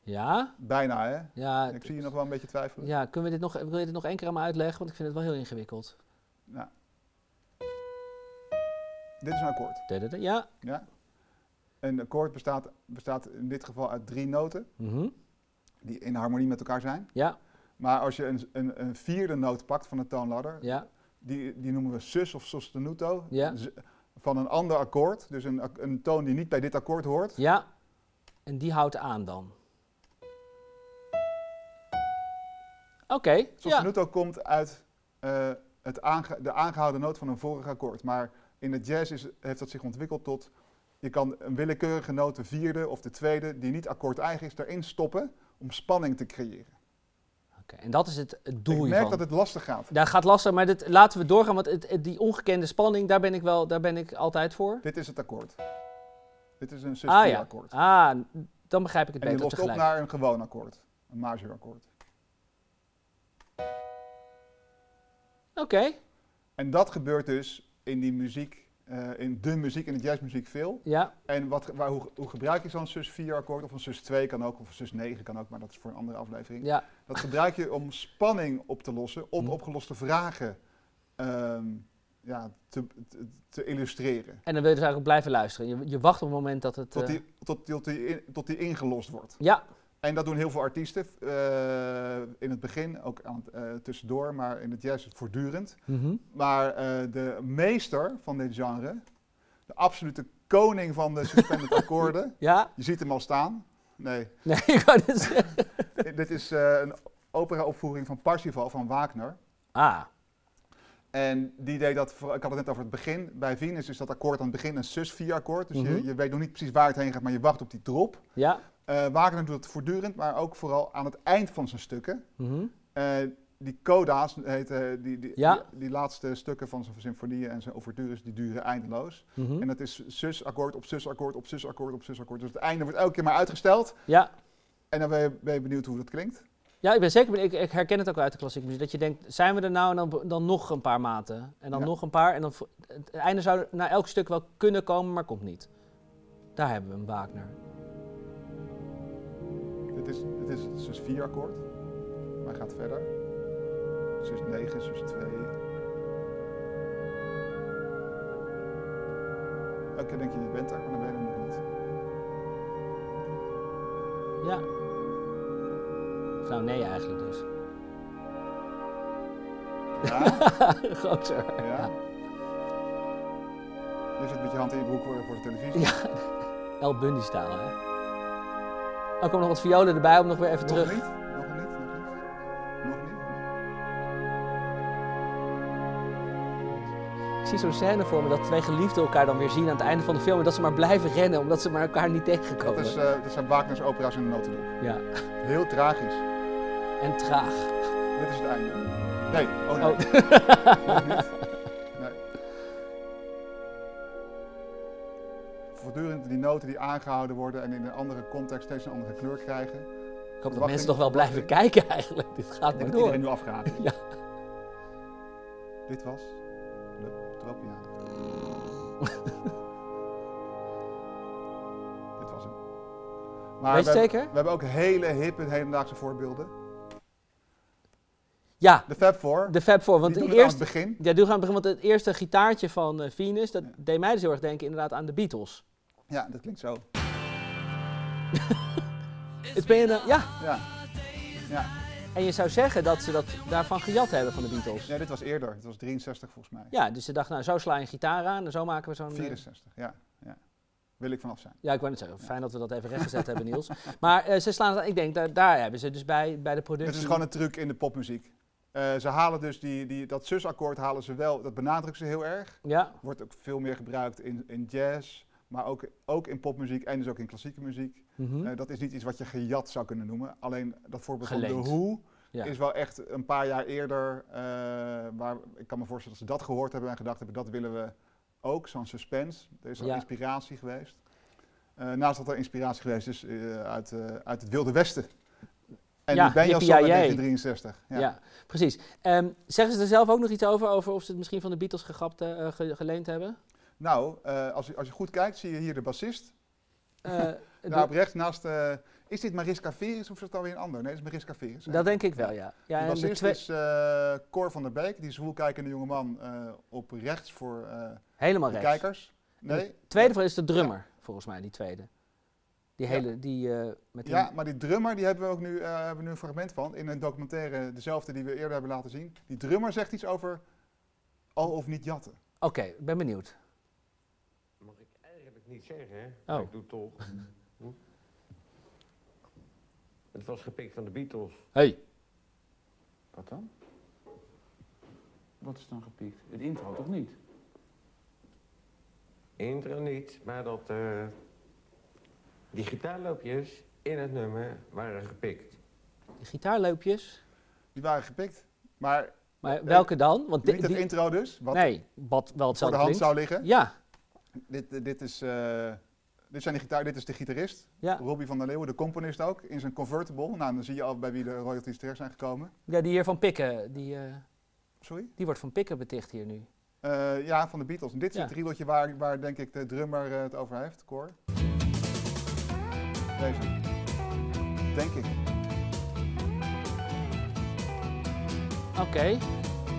[SPEAKER 1] Ja,
[SPEAKER 2] Bijna, hè?
[SPEAKER 1] ja.
[SPEAKER 2] Ik zie je nog wel een beetje twijfelen.
[SPEAKER 1] Ja, kunnen we dit nog, wil je dit nog één keer aan me uitleggen? Want ik vind het wel heel ingewikkeld.
[SPEAKER 2] Nou. Dit is een akkoord.
[SPEAKER 1] Da-da-da. Ja.
[SPEAKER 2] Ja? Een akkoord bestaat, bestaat in dit geval uit drie noten
[SPEAKER 1] Mhm.
[SPEAKER 2] die in harmonie met elkaar zijn.
[SPEAKER 1] Ja,
[SPEAKER 2] Maar als je een, een, een vierde noot pakt van de toonladder,
[SPEAKER 1] ja,
[SPEAKER 2] die, die noemen we sus of sostenuto,
[SPEAKER 1] Ja.
[SPEAKER 2] z- van een ander akkoord, dus een, ak- een toon die niet bij dit akkoord hoort,
[SPEAKER 1] ja. En die houdt aan dan. Oké, ja.
[SPEAKER 2] Sostenuto komt uit eh, het aange- de aangehouden noot van een vorig akkoord. Maar in de jazz is, heeft dat zich ontwikkeld tot... Je kan een willekeurige noot, de vierde of de tweede, die niet akkoord eigen is, erin stoppen om spanning te creëren.
[SPEAKER 1] Oké, En dat is het, het doel
[SPEAKER 2] Ik merk
[SPEAKER 1] hiervan.
[SPEAKER 2] dat het lastig gaat.
[SPEAKER 1] Daar gaat lastig, maar dit, laten we doorgaan, want het, het- die ongekende spanning, daar ben ik, wel, daar ben ik altijd voor.
[SPEAKER 2] Dit is het akkoord. Dit is een sus
[SPEAKER 1] Ah ja,
[SPEAKER 2] akkoord.
[SPEAKER 1] ah, dan begrijp ik het
[SPEAKER 2] en je
[SPEAKER 1] beter
[SPEAKER 2] lost op
[SPEAKER 1] tegelijk.
[SPEAKER 2] naar een gewoon akkoord. Een major akkoord.
[SPEAKER 1] Oké,
[SPEAKER 2] En dat gebeurt dus in die muziek, eh, in de muziek, in de jazzmuziek veel.
[SPEAKER 1] ja,
[SPEAKER 2] En wat, waar, hoe, hoe gebruik je zo'n sus 4 akkoord of een sus 2 kan ook, of een sus 9 kan ook, maar dat is voor een andere aflevering.
[SPEAKER 1] ja,
[SPEAKER 2] Dat gebruik je om spanning op te lossen,
[SPEAKER 1] Hm.
[SPEAKER 2] onopgeloste vragen ehm, ja, te, te, te illustreren.
[SPEAKER 1] en dan wil je dus eigenlijk blijven luisteren. Je, je wacht op het moment dat het...
[SPEAKER 2] Tot
[SPEAKER 1] eh,
[SPEAKER 2] die, tot, tot, die in- tot die ingelost wordt.
[SPEAKER 1] Ja,
[SPEAKER 2] En dat doen heel veel artiesten eh, in het begin, ook aan het, eh, tussendoor, maar in het jazz voortdurend.
[SPEAKER 1] mhm.
[SPEAKER 2] Maar eh, de meester van dit genre, de absolute koning van de suspended akkoorden,
[SPEAKER 1] ja,
[SPEAKER 2] je ziet hem al staan. Nee,
[SPEAKER 1] nee, [laughs] ik wou dit zeggen.
[SPEAKER 2] [laughs] dit is eh, een opera-opvoering van Parsifal van Wagner.
[SPEAKER 1] Ah,
[SPEAKER 2] En die deed dat, voor- ik had het net over het begin. Bij Venus is dat akkoord aan het begin een sus-4-akkoord. Dus je,
[SPEAKER 1] Mhm.
[SPEAKER 2] je weet nog niet precies waar het heen gaat, maar je wacht op die drop.
[SPEAKER 1] ja.
[SPEAKER 2] Eh Wagner doet het voortdurend, maar ook vooral aan het eind van zijn stukken.
[SPEAKER 1] mhm.
[SPEAKER 2] Eh, die coda's, heet, eh, die, die,
[SPEAKER 1] Ja.
[SPEAKER 2] die, die laatste stukken van zijn symfonieën en zijn overtures, die duren eindeloos.
[SPEAKER 1] Mhm.
[SPEAKER 2] En dat is sus-akkoord op sus-akkoord op sus-akkoord op sus-akkoord. Dus het einde wordt elke keer maar uitgesteld.
[SPEAKER 1] Ja.
[SPEAKER 2] En dan ben je, ben je benieuwd hoe dat klinkt.
[SPEAKER 1] ja, ik ben zeker benieuwd. Ik, ik herken het ook wel uit de klassieke muziek. Dat je denkt, zijn we er nou en dan, dan nog een paar maten. En dan
[SPEAKER 2] Ja.
[SPEAKER 1] nog een paar. En dan vo- het einde zou na elk stuk wel kunnen komen, maar komt niet. Daar hebben we hem, Wagner.
[SPEAKER 2] Dit is, dit is het sus 4 akkoord. Maar gaat verder. Sus 9, sus 2. Elke keer denk je je bent er, maar dan ben je er nog niet.
[SPEAKER 1] Ja. Of nou, nee eigenlijk dus.
[SPEAKER 2] Ja?
[SPEAKER 1] [laughs] Groter. [laughs]
[SPEAKER 2] ja. Je zit met je hand in je broek voor voor de televisie.
[SPEAKER 1] Ja. El Bundy-stijl, hè? Oh, Er komen nog wat violen erbij om nog weer even
[SPEAKER 2] Nog
[SPEAKER 1] terug.
[SPEAKER 2] niet? Nog niet? Nog niet? Nog niet?
[SPEAKER 1] Ik zie zo'n scène voor me dat twee geliefden elkaar dan weer zien aan het einde van de film. En dat ze maar blijven rennen omdat ze maar elkaar niet
[SPEAKER 2] Dat,
[SPEAKER 1] tegenkomen.
[SPEAKER 2] is, eh, dat zijn Wagner's opera's in de notendop.
[SPEAKER 1] Ja,
[SPEAKER 2] Heel tragisch.
[SPEAKER 1] en traag.
[SPEAKER 2] Dit is het einde. Nee, oh nee.
[SPEAKER 1] Oh.
[SPEAKER 2] Nog niet. Nee. Voortdurend die noten die aangehouden worden en in een andere context steeds een andere kleur
[SPEAKER 1] Ik
[SPEAKER 2] krijgen.
[SPEAKER 1] hoop dat
[SPEAKER 2] Verwachting,
[SPEAKER 1] mensen nog wel blijven kijken [laughs] eigenlijk. Dit gaat
[SPEAKER 2] Ik denk
[SPEAKER 1] maar
[SPEAKER 2] dat
[SPEAKER 1] door.
[SPEAKER 2] iedereen nu afgaat.
[SPEAKER 1] Ja.
[SPEAKER 2] Dit was de Tropiaan. Dit was hem. Maar
[SPEAKER 1] Weet je
[SPEAKER 2] we, hebben-
[SPEAKER 1] zeker?
[SPEAKER 2] we hebben ook hele hippe hedendaagse voorbeelden.
[SPEAKER 1] Ja,
[SPEAKER 2] De Fab Four.
[SPEAKER 1] de Fab Four. Want
[SPEAKER 2] die
[SPEAKER 1] de
[SPEAKER 2] doen het
[SPEAKER 1] eerste,
[SPEAKER 2] aan het begin.
[SPEAKER 1] ja, doe gaan beginnen, want het eerste gitaartje van eh, Venus, dat
[SPEAKER 2] Ja.
[SPEAKER 1] deed mij dus heel erg denken inderdaad aan de Beatles.
[SPEAKER 2] Ja, dat klinkt zo.
[SPEAKER 1] Het ben je dan- ja,
[SPEAKER 2] Ja. Ja.
[SPEAKER 1] en je zou zeggen dat ze dat daarvan gejat hebben van de Beatles.
[SPEAKER 2] ja, dit was eerder. Het was 63 volgens mij.
[SPEAKER 1] Ja, dus ze dachten, nou zo sla je een gitaar aan en zo maken we zo'n... eh,
[SPEAKER 2] 64, ja. ja. Wil ik vanaf zijn.
[SPEAKER 1] Ja, ik wou net zeggen, fijn dat we dat even rechtgezet hebben Niels. Maar eh, ze slaan het aan, ik denk, daar, daar hebben ze dus bij, bij de productie...
[SPEAKER 2] Het is gewoon een truc in de popmuziek. Eh, ze halen dus die, die, dat zusakkoord halen ze wel, dat benadrukken ze heel erg.
[SPEAKER 1] Ja,
[SPEAKER 2] wordt ook veel meer gebruikt in, in jazz, maar ook, ook in popmuziek en dus ook in klassieke muziek.
[SPEAKER 1] mhm.
[SPEAKER 2] Eh, dat is niet iets wat je gejat zou kunnen noemen. Alleen dat voorbeeld van
[SPEAKER 1] Geleend.
[SPEAKER 2] de Who
[SPEAKER 1] Ja.
[SPEAKER 2] is wel echt een paar jaar eerder. eh, waar, ik kan me voorstellen dat ze dat gehoord hebben en gedacht hebben, dat willen we ook. Zo'n suspense. Er is al
[SPEAKER 1] Ja.
[SPEAKER 2] inspiratie geweest. Eh, naast dat er inspiratie geweest is eh, uit, eh, uit het Wilde Westen. En
[SPEAKER 1] Ja,
[SPEAKER 2] die ben je al zo in
[SPEAKER 1] yippee-yay.
[SPEAKER 2] 1963.
[SPEAKER 1] ja. precies. Ehm, zeggen ze er zelf ook nog iets over, over of ze het misschien van de Beatles gegrapt, eh, ge- geleend hebben?
[SPEAKER 2] Nou, eh, als, je, als je goed kijkt, zie je hier de bassist. [laughs]
[SPEAKER 1] Eh,
[SPEAKER 2] Daar op rechts naast, eh, is dit Mariska Veres of is dat alweer een ander? Nee, dat is Mariska Veres.
[SPEAKER 1] dat denk ik wel, ja. ja
[SPEAKER 2] De
[SPEAKER 1] en de
[SPEAKER 2] bassist
[SPEAKER 1] twee-
[SPEAKER 2] is eh, Cor van der Beek, die zwoelkijkende jongeman eh, op rechts voor eh,
[SPEAKER 1] helemaal
[SPEAKER 2] de
[SPEAKER 1] Oh, rechts.
[SPEAKER 2] kijkers. Nee?
[SPEAKER 1] Tweede van is de drummer, volgens mij, die tweede. Die
[SPEAKER 2] Ja.
[SPEAKER 1] hele, die eh, met die...
[SPEAKER 2] Ja, maar die drummer, die hebben we ook nu, eh, hebben we nu een fragment van in een documentaire, dezelfde die we eerder hebben laten zien. Die drummer zegt iets over al of niet jatten.
[SPEAKER 1] Oké, ik ben benieuwd.
[SPEAKER 8] Mag ik eigenlijk niet zeggen, hè? Maar
[SPEAKER 1] Oh.
[SPEAKER 8] ik doe het toch. Hm? Het was gepikt van de Beatles.
[SPEAKER 1] Hey.
[SPEAKER 4] Wat dan? Wat is dan gepiekt? Het intro toch niet?
[SPEAKER 8] Intro niet, maar dat eh die gitaarloopjes in het nummer waren gepikt.
[SPEAKER 1] Die gitaarloopjes.
[SPEAKER 2] Die waren gepikt. Maar
[SPEAKER 1] Maar welke dan? Want
[SPEAKER 2] Eh, niet
[SPEAKER 1] di-
[SPEAKER 2] dat
[SPEAKER 1] die-
[SPEAKER 2] intro dus, wat
[SPEAKER 1] Nee, wat wel
[SPEAKER 2] voor de
[SPEAKER 1] hetzelfde
[SPEAKER 2] hand
[SPEAKER 1] klinkt.
[SPEAKER 2] zou liggen.
[SPEAKER 1] Ja,
[SPEAKER 2] Dit, eh, dit, is, eh, dit, zijn de gitaar, dit is de gitarist.
[SPEAKER 1] ja.
[SPEAKER 2] Robbie van der Leeuwen, de componist ook, in zijn convertible. Nou, dan zie je al bij wie de royalties terecht zijn gekomen.
[SPEAKER 1] ja, die hier van Pikken, die, eh,
[SPEAKER 2] Sorry?
[SPEAKER 1] die wordt van Pikken beticht hier nu.
[SPEAKER 2] Eh, ja, van de Beatles. En dit is
[SPEAKER 1] Ja.
[SPEAKER 2] het riedeltje waar, waar denk ik de drummer eh, het over heeft, Cor. Deze. Denk ik.
[SPEAKER 1] Oké,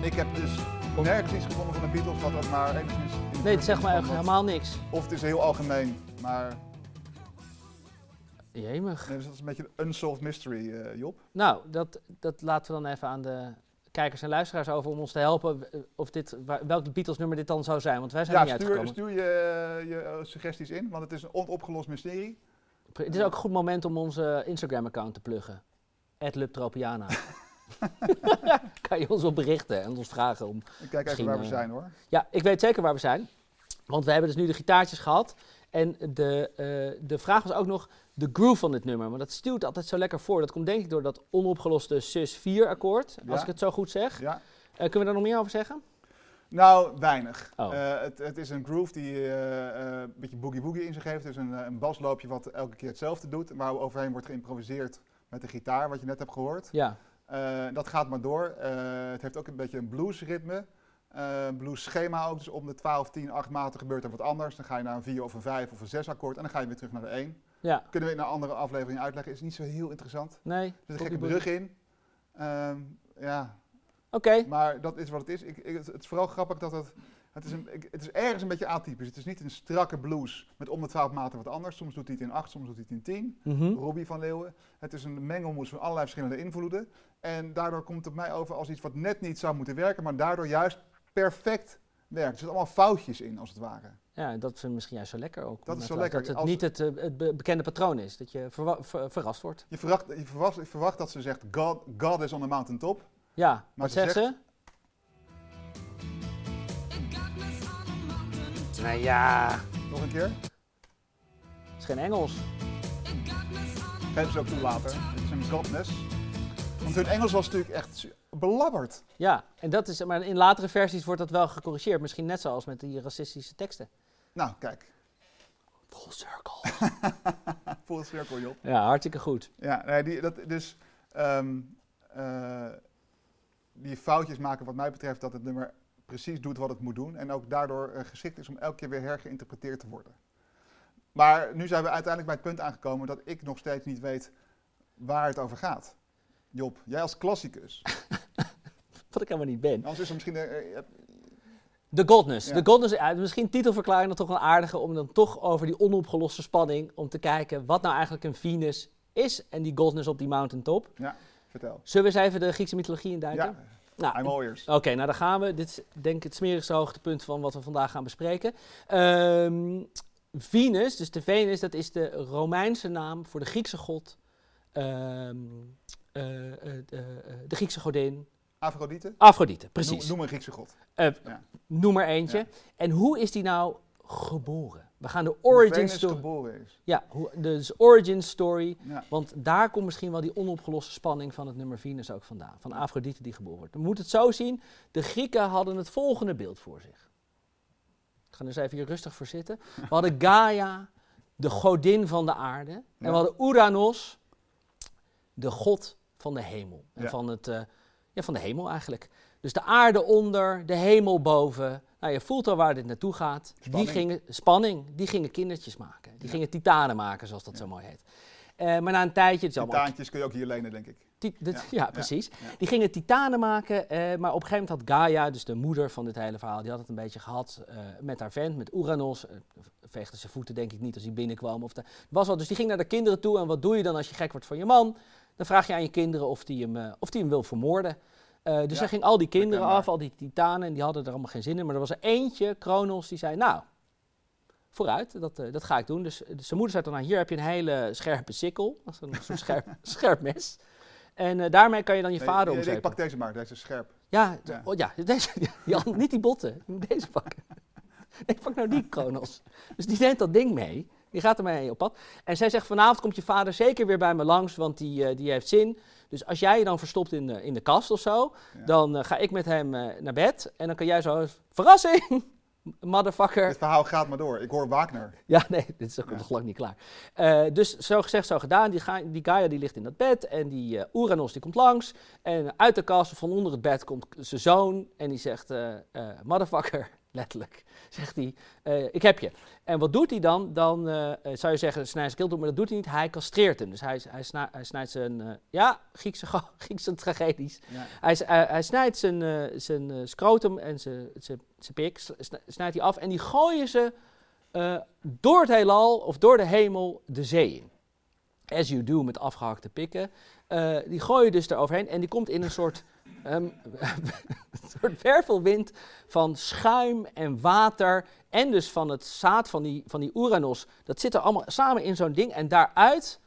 [SPEAKER 2] Ik heb dus
[SPEAKER 1] Of-
[SPEAKER 2] nergens iets gevonden van de Beatles wat ook maar enigszins... in de buurt
[SPEAKER 1] nee, het
[SPEAKER 2] is
[SPEAKER 1] zegt me
[SPEAKER 2] van
[SPEAKER 1] echt
[SPEAKER 2] wat-
[SPEAKER 1] helemaal niks.
[SPEAKER 2] Of het is heel algemeen, maar
[SPEAKER 1] Jemig.
[SPEAKER 2] nee, dus dat is een beetje een unsolved mystery, eh, Job.
[SPEAKER 1] Nou, dat, dat laten we dan even aan de kijkers en luisteraars over om ons te helpen eh, of dit, wa- welk Beatles-nummer dit dan zou zijn, want wij zijn er
[SPEAKER 2] Ja,
[SPEAKER 1] niet
[SPEAKER 2] stuur,
[SPEAKER 1] uitgekomen.
[SPEAKER 2] stuur je, je eh, suggesties in, want het is een onopgelost mysterie.
[SPEAKER 1] Pre- Het is ook een goed moment om onze Instagram-account te pluggen. @lubtropiana. [laughs] kan je ons op berichten en ons vragen om.
[SPEAKER 2] Ik kijk even
[SPEAKER 1] Misschien,
[SPEAKER 2] waar we
[SPEAKER 1] eh,
[SPEAKER 2] zijn hoor.
[SPEAKER 1] Ja, ik weet zeker waar we zijn. Want we hebben dus nu de gitaartjes gehad. En de, eh, de vraag was ook nog de groove van dit nummer. Want dat stuurt altijd zo lekker voor. Dat komt denk ik door dat onopgeloste sus-4-akkoord. Als
[SPEAKER 2] Ja.
[SPEAKER 1] ik het zo goed zeg.
[SPEAKER 2] Ja.
[SPEAKER 1] Eh, kunnen we daar nog meer over zeggen?
[SPEAKER 2] Nou, weinig.
[SPEAKER 1] Oh.
[SPEAKER 2] Eh, het, het is een groove die eh, eh, een beetje boogie-woogie in zich heeft. Dus een, eh, een basloopje wat elke keer hetzelfde doet, maar overheen wordt geïmproviseerd met de gitaar, wat je net hebt gehoord.
[SPEAKER 1] Ja.
[SPEAKER 2] Eh, dat gaat maar door. Eh, het heeft ook een beetje een bluesritme, eh, een bluesschema ook. Dus om de 12, 10, 8 maten gebeurt er wat anders. Dan ga je naar een 4 of een 5 of een 6 akkoord en dan ga je weer terug naar de 1.
[SPEAKER 1] Ja.
[SPEAKER 2] Kunnen we in een andere aflevering uitleggen, is niet zo heel interessant. Er
[SPEAKER 1] Nee.
[SPEAKER 2] zit een
[SPEAKER 1] Boogie
[SPEAKER 2] gekke
[SPEAKER 1] Boogie.
[SPEAKER 2] brug in. Ehm, ja,
[SPEAKER 1] Oké.
[SPEAKER 2] maar dat is wat het is. Ik, ik, het, het is vooral grappig dat het Het is, een, ik- het is ergens een beetje atypisch. Het is niet een strakke blues met om de 12 maten wat anders. Soms doet hij het in 8, soms doet hij het in 10.
[SPEAKER 1] Mhm.
[SPEAKER 2] Robbie van Leeuwen. Het is een mengelmoes van allerlei verschillende invloeden. En daardoor komt het mij over als iets wat net niet zou moeten werken, maar daardoor juist perfect werkt. Er zitten allemaal foutjes in, als het ware.
[SPEAKER 1] Ja, dat vind ik misschien juist zo lekker ook.
[SPEAKER 2] Dat is
[SPEAKER 1] Met
[SPEAKER 2] zo lekker.
[SPEAKER 1] Dat het
[SPEAKER 2] Als-
[SPEAKER 1] niet het, eh, het be- bekende patroon is, dat je verwa- ver- verrast wordt.
[SPEAKER 2] Je verwacht, je verwacht, je verwacht dat ze zegt, God, God is on the mountain top.
[SPEAKER 1] Ja, wat
[SPEAKER 2] ze
[SPEAKER 1] zegt ze? Nou ja,
[SPEAKER 2] Nog een keer.
[SPEAKER 1] het is geen Engels.
[SPEAKER 2] Geef ze ook toe later. Het is een godness. Want hun Engels was natuurlijk echt su- belabberd.
[SPEAKER 1] Ja, en dat is, maar in latere versies wordt dat wel gecorrigeerd. Misschien net zoals met die racistische teksten.
[SPEAKER 2] Nou, kijk.
[SPEAKER 1] Full circle.
[SPEAKER 2] Full circle, joh.
[SPEAKER 1] Ja, hartstikke goed.
[SPEAKER 2] Ja, nee, die, dat, dus ehm, eh, die foutjes maken wat mij betreft dat het nummer precies doet wat het moet doen. En ook daardoor eh, geschikt is om elke keer weer hergeïnterpreteerd te worden. Maar nu zijn we uiteindelijk bij het punt aangekomen dat ik nog steeds niet weet waar het over gaat. Job, jij als klassicus.
[SPEAKER 1] Wat ik helemaal niet ben.
[SPEAKER 2] Anders is er misschien... eh, eh,
[SPEAKER 1] The Godness.
[SPEAKER 2] Ja.
[SPEAKER 1] The Godness, ja, misschien titelverklaring dan toch wel aardige om dan toch over die onopgeloste spanning om te kijken wat nou eigenlijk een Venus is en die Godness op die mountaintop.
[SPEAKER 2] vertel.
[SPEAKER 1] Zullen we eens even de Griekse mythologie induiken?
[SPEAKER 2] Ja,
[SPEAKER 1] Nou,
[SPEAKER 2] I'm all ears.
[SPEAKER 1] Oké, nou daar gaan we. Dit is denk ik het smerigste hoogtepunt van wat we vandaag gaan bespreken. Ehm, Venus, dus de Venus, dat is de Romeinse naam voor de Griekse god. ehm, eh, eh, eh, de Griekse godin
[SPEAKER 2] Afrodite?
[SPEAKER 1] Afrodite, precies.
[SPEAKER 2] Noem, noem een Griekse god.
[SPEAKER 1] Noem maar eentje.
[SPEAKER 2] Ja.
[SPEAKER 1] En hoe is die nou geboren? We gaan de origin
[SPEAKER 2] Venus
[SPEAKER 1] story.
[SPEAKER 2] geboren is.
[SPEAKER 1] Ja, hoe- dus origin story.
[SPEAKER 2] Ja.
[SPEAKER 1] Want daar komt misschien wel die onopgeloste spanning van het nummer Venus ook vandaan. Van Afrodite die geboren wordt. We moeten het zo zien. De Grieken hadden het volgende beeld voor zich. Ik ga dus even hier rustig voor zitten. We
[SPEAKER 2] [laughs]
[SPEAKER 1] hadden Gaia, de godin van de aarde. En we
[SPEAKER 2] Ja.
[SPEAKER 1] hadden Uranus, de god van de hemel. En
[SPEAKER 2] Ja.
[SPEAKER 1] van, het, eh, ja, van de hemel eigenlijk. Dus de aarde onder, de hemel boven. Nou, je voelt al waar dit naartoe gaat.
[SPEAKER 2] Spanning.
[SPEAKER 1] Die gingen, spanning, die gingen kindertjes maken. Die gingen titanen maken, zoals dat zo mooi heet. Eh, maar na een tijdje, het is
[SPEAKER 2] Die
[SPEAKER 1] allemaal
[SPEAKER 2] taartjes kun je ook hier lenen, denk ik.
[SPEAKER 1] Ti- dit-
[SPEAKER 2] Ja,
[SPEAKER 1] ja,
[SPEAKER 2] ja,
[SPEAKER 1] precies.
[SPEAKER 2] ja.
[SPEAKER 1] Die gingen titanen maken, eh, maar op een gegeven moment had Gaia, dus de moeder van dit hele verhaal, die had het een beetje gehad eh, met haar vent, met Uranus. Eh, veegde zijn voeten denk ik niet als hij binnenkwam. Of de, was wel. Dus die ging naar de kinderen toe en wat doe je dan als je gek wordt van je man? Dan vraag je aan je kinderen of die hem, eh, of die hem wil vermoorden. Eh, dus
[SPEAKER 2] Ja,
[SPEAKER 1] zij ging al die kinderen
[SPEAKER 2] herkenbaar.
[SPEAKER 1] af, al die titanen, en die hadden er allemaal geen zin in. Maar er was er eentje, Kronos, die zei, nou, vooruit, dat, eh, dat ga ik doen. Dus, eh, zijn moeder zei dan, nou, hier heb je een hele scherpe sikkel. Dat is een
[SPEAKER 2] [laughs]
[SPEAKER 1] soort scherp, scherp mes. En eh, daarmee kan je dan je
[SPEAKER 2] Nee,
[SPEAKER 1] vader
[SPEAKER 2] nee,
[SPEAKER 1] omzetten.
[SPEAKER 2] Ik pak deze maar, deze is scherp.
[SPEAKER 1] Ja,
[SPEAKER 2] Ja.
[SPEAKER 1] ja. Oh, ja deze, [laughs] die andere- niet die botten. Je moet deze
[SPEAKER 2] [laughs]
[SPEAKER 1] pakken. Nee, Ik pak nou die Kronos. Dus die neemt dat ding mee. Die gaat ermee op pad. En zij zegt, vanavond komt je vader zeker weer bij me langs, want die, eh, die heeft zin. Dus als jij je dan verstopt in de, in de kast of zo,
[SPEAKER 2] Ja.
[SPEAKER 1] dan eh, ga ik met hem eh, naar bed. En dan kan jij zo, verrassing, [laughs] motherfucker.
[SPEAKER 2] Dit verhaal gaat maar door. Ik hoor Wagner.
[SPEAKER 1] [laughs] Ja, nee, dit is ook
[SPEAKER 2] Ja.
[SPEAKER 1] nog lang niet klaar. Eh, dus zo gezegd, zo gedaan. Die, Ga- die Gaia die ligt in dat bed en die eh, Uranus die komt langs. En uit de kast van onder het bed komt zijn zoon en die zegt, eh, eh, motherfucker, [laughs] letterlijk, zegt hij, eh, ik heb je. En wat doet hij dan? Dan eh, eh, zou je zeggen, snijdt zijn keel toe, maar dat doet hij niet. Hij castreert hem. Dus hij, hij, sna- hij snijdt zijn, eh, ja, Griekse, go- [laughs] Griekse tragedies.
[SPEAKER 2] Ja.
[SPEAKER 1] Hij, s- hij, hij snijdt zijn, eh, zijn eh, scrotum en zijn, zijn, zijn pik, s- sni- snijdt hij af en die gooien ze eh, door het heelal of door de hemel de zee in. As you do met afgehakte pikken. Eh, die gooi je dus eroverheen en die komt in een soort, [laughs] ehm, een soort wervelwind van schuim en water. En dus van het zaad van die, van die Uranus. Dat zit er allemaal samen in zo'n ding. En daaruit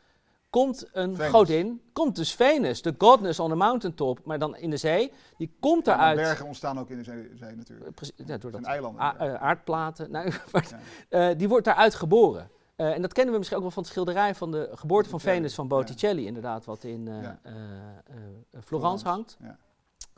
[SPEAKER 1] komt een
[SPEAKER 2] Venus.
[SPEAKER 1] godin. Komt dus Venus, de godness on the mountaintop, maar dan in de zee. Die komt
[SPEAKER 2] Ja, maar
[SPEAKER 1] eruit.
[SPEAKER 2] bergen ontstaan ook in de zee, zee natuurlijk.
[SPEAKER 1] Eh, precies, ja, door
[SPEAKER 2] Het
[SPEAKER 1] dat
[SPEAKER 2] zijn eilanden.
[SPEAKER 1] a- eh, aardplaten. [laughs] Nou, maar-
[SPEAKER 2] Ja.
[SPEAKER 1] eh, die wordt daaruit geboren. Eh, en dat kennen we misschien ook wel van het schilderij van de geboorte van
[SPEAKER 2] Botticelli,
[SPEAKER 1] Venus van
[SPEAKER 2] ja.
[SPEAKER 1] Botticelli, inderdaad, wat in eh,
[SPEAKER 2] Ja.
[SPEAKER 1] eh, eh, Florence,
[SPEAKER 2] Florence,
[SPEAKER 1] hangt.
[SPEAKER 2] ja.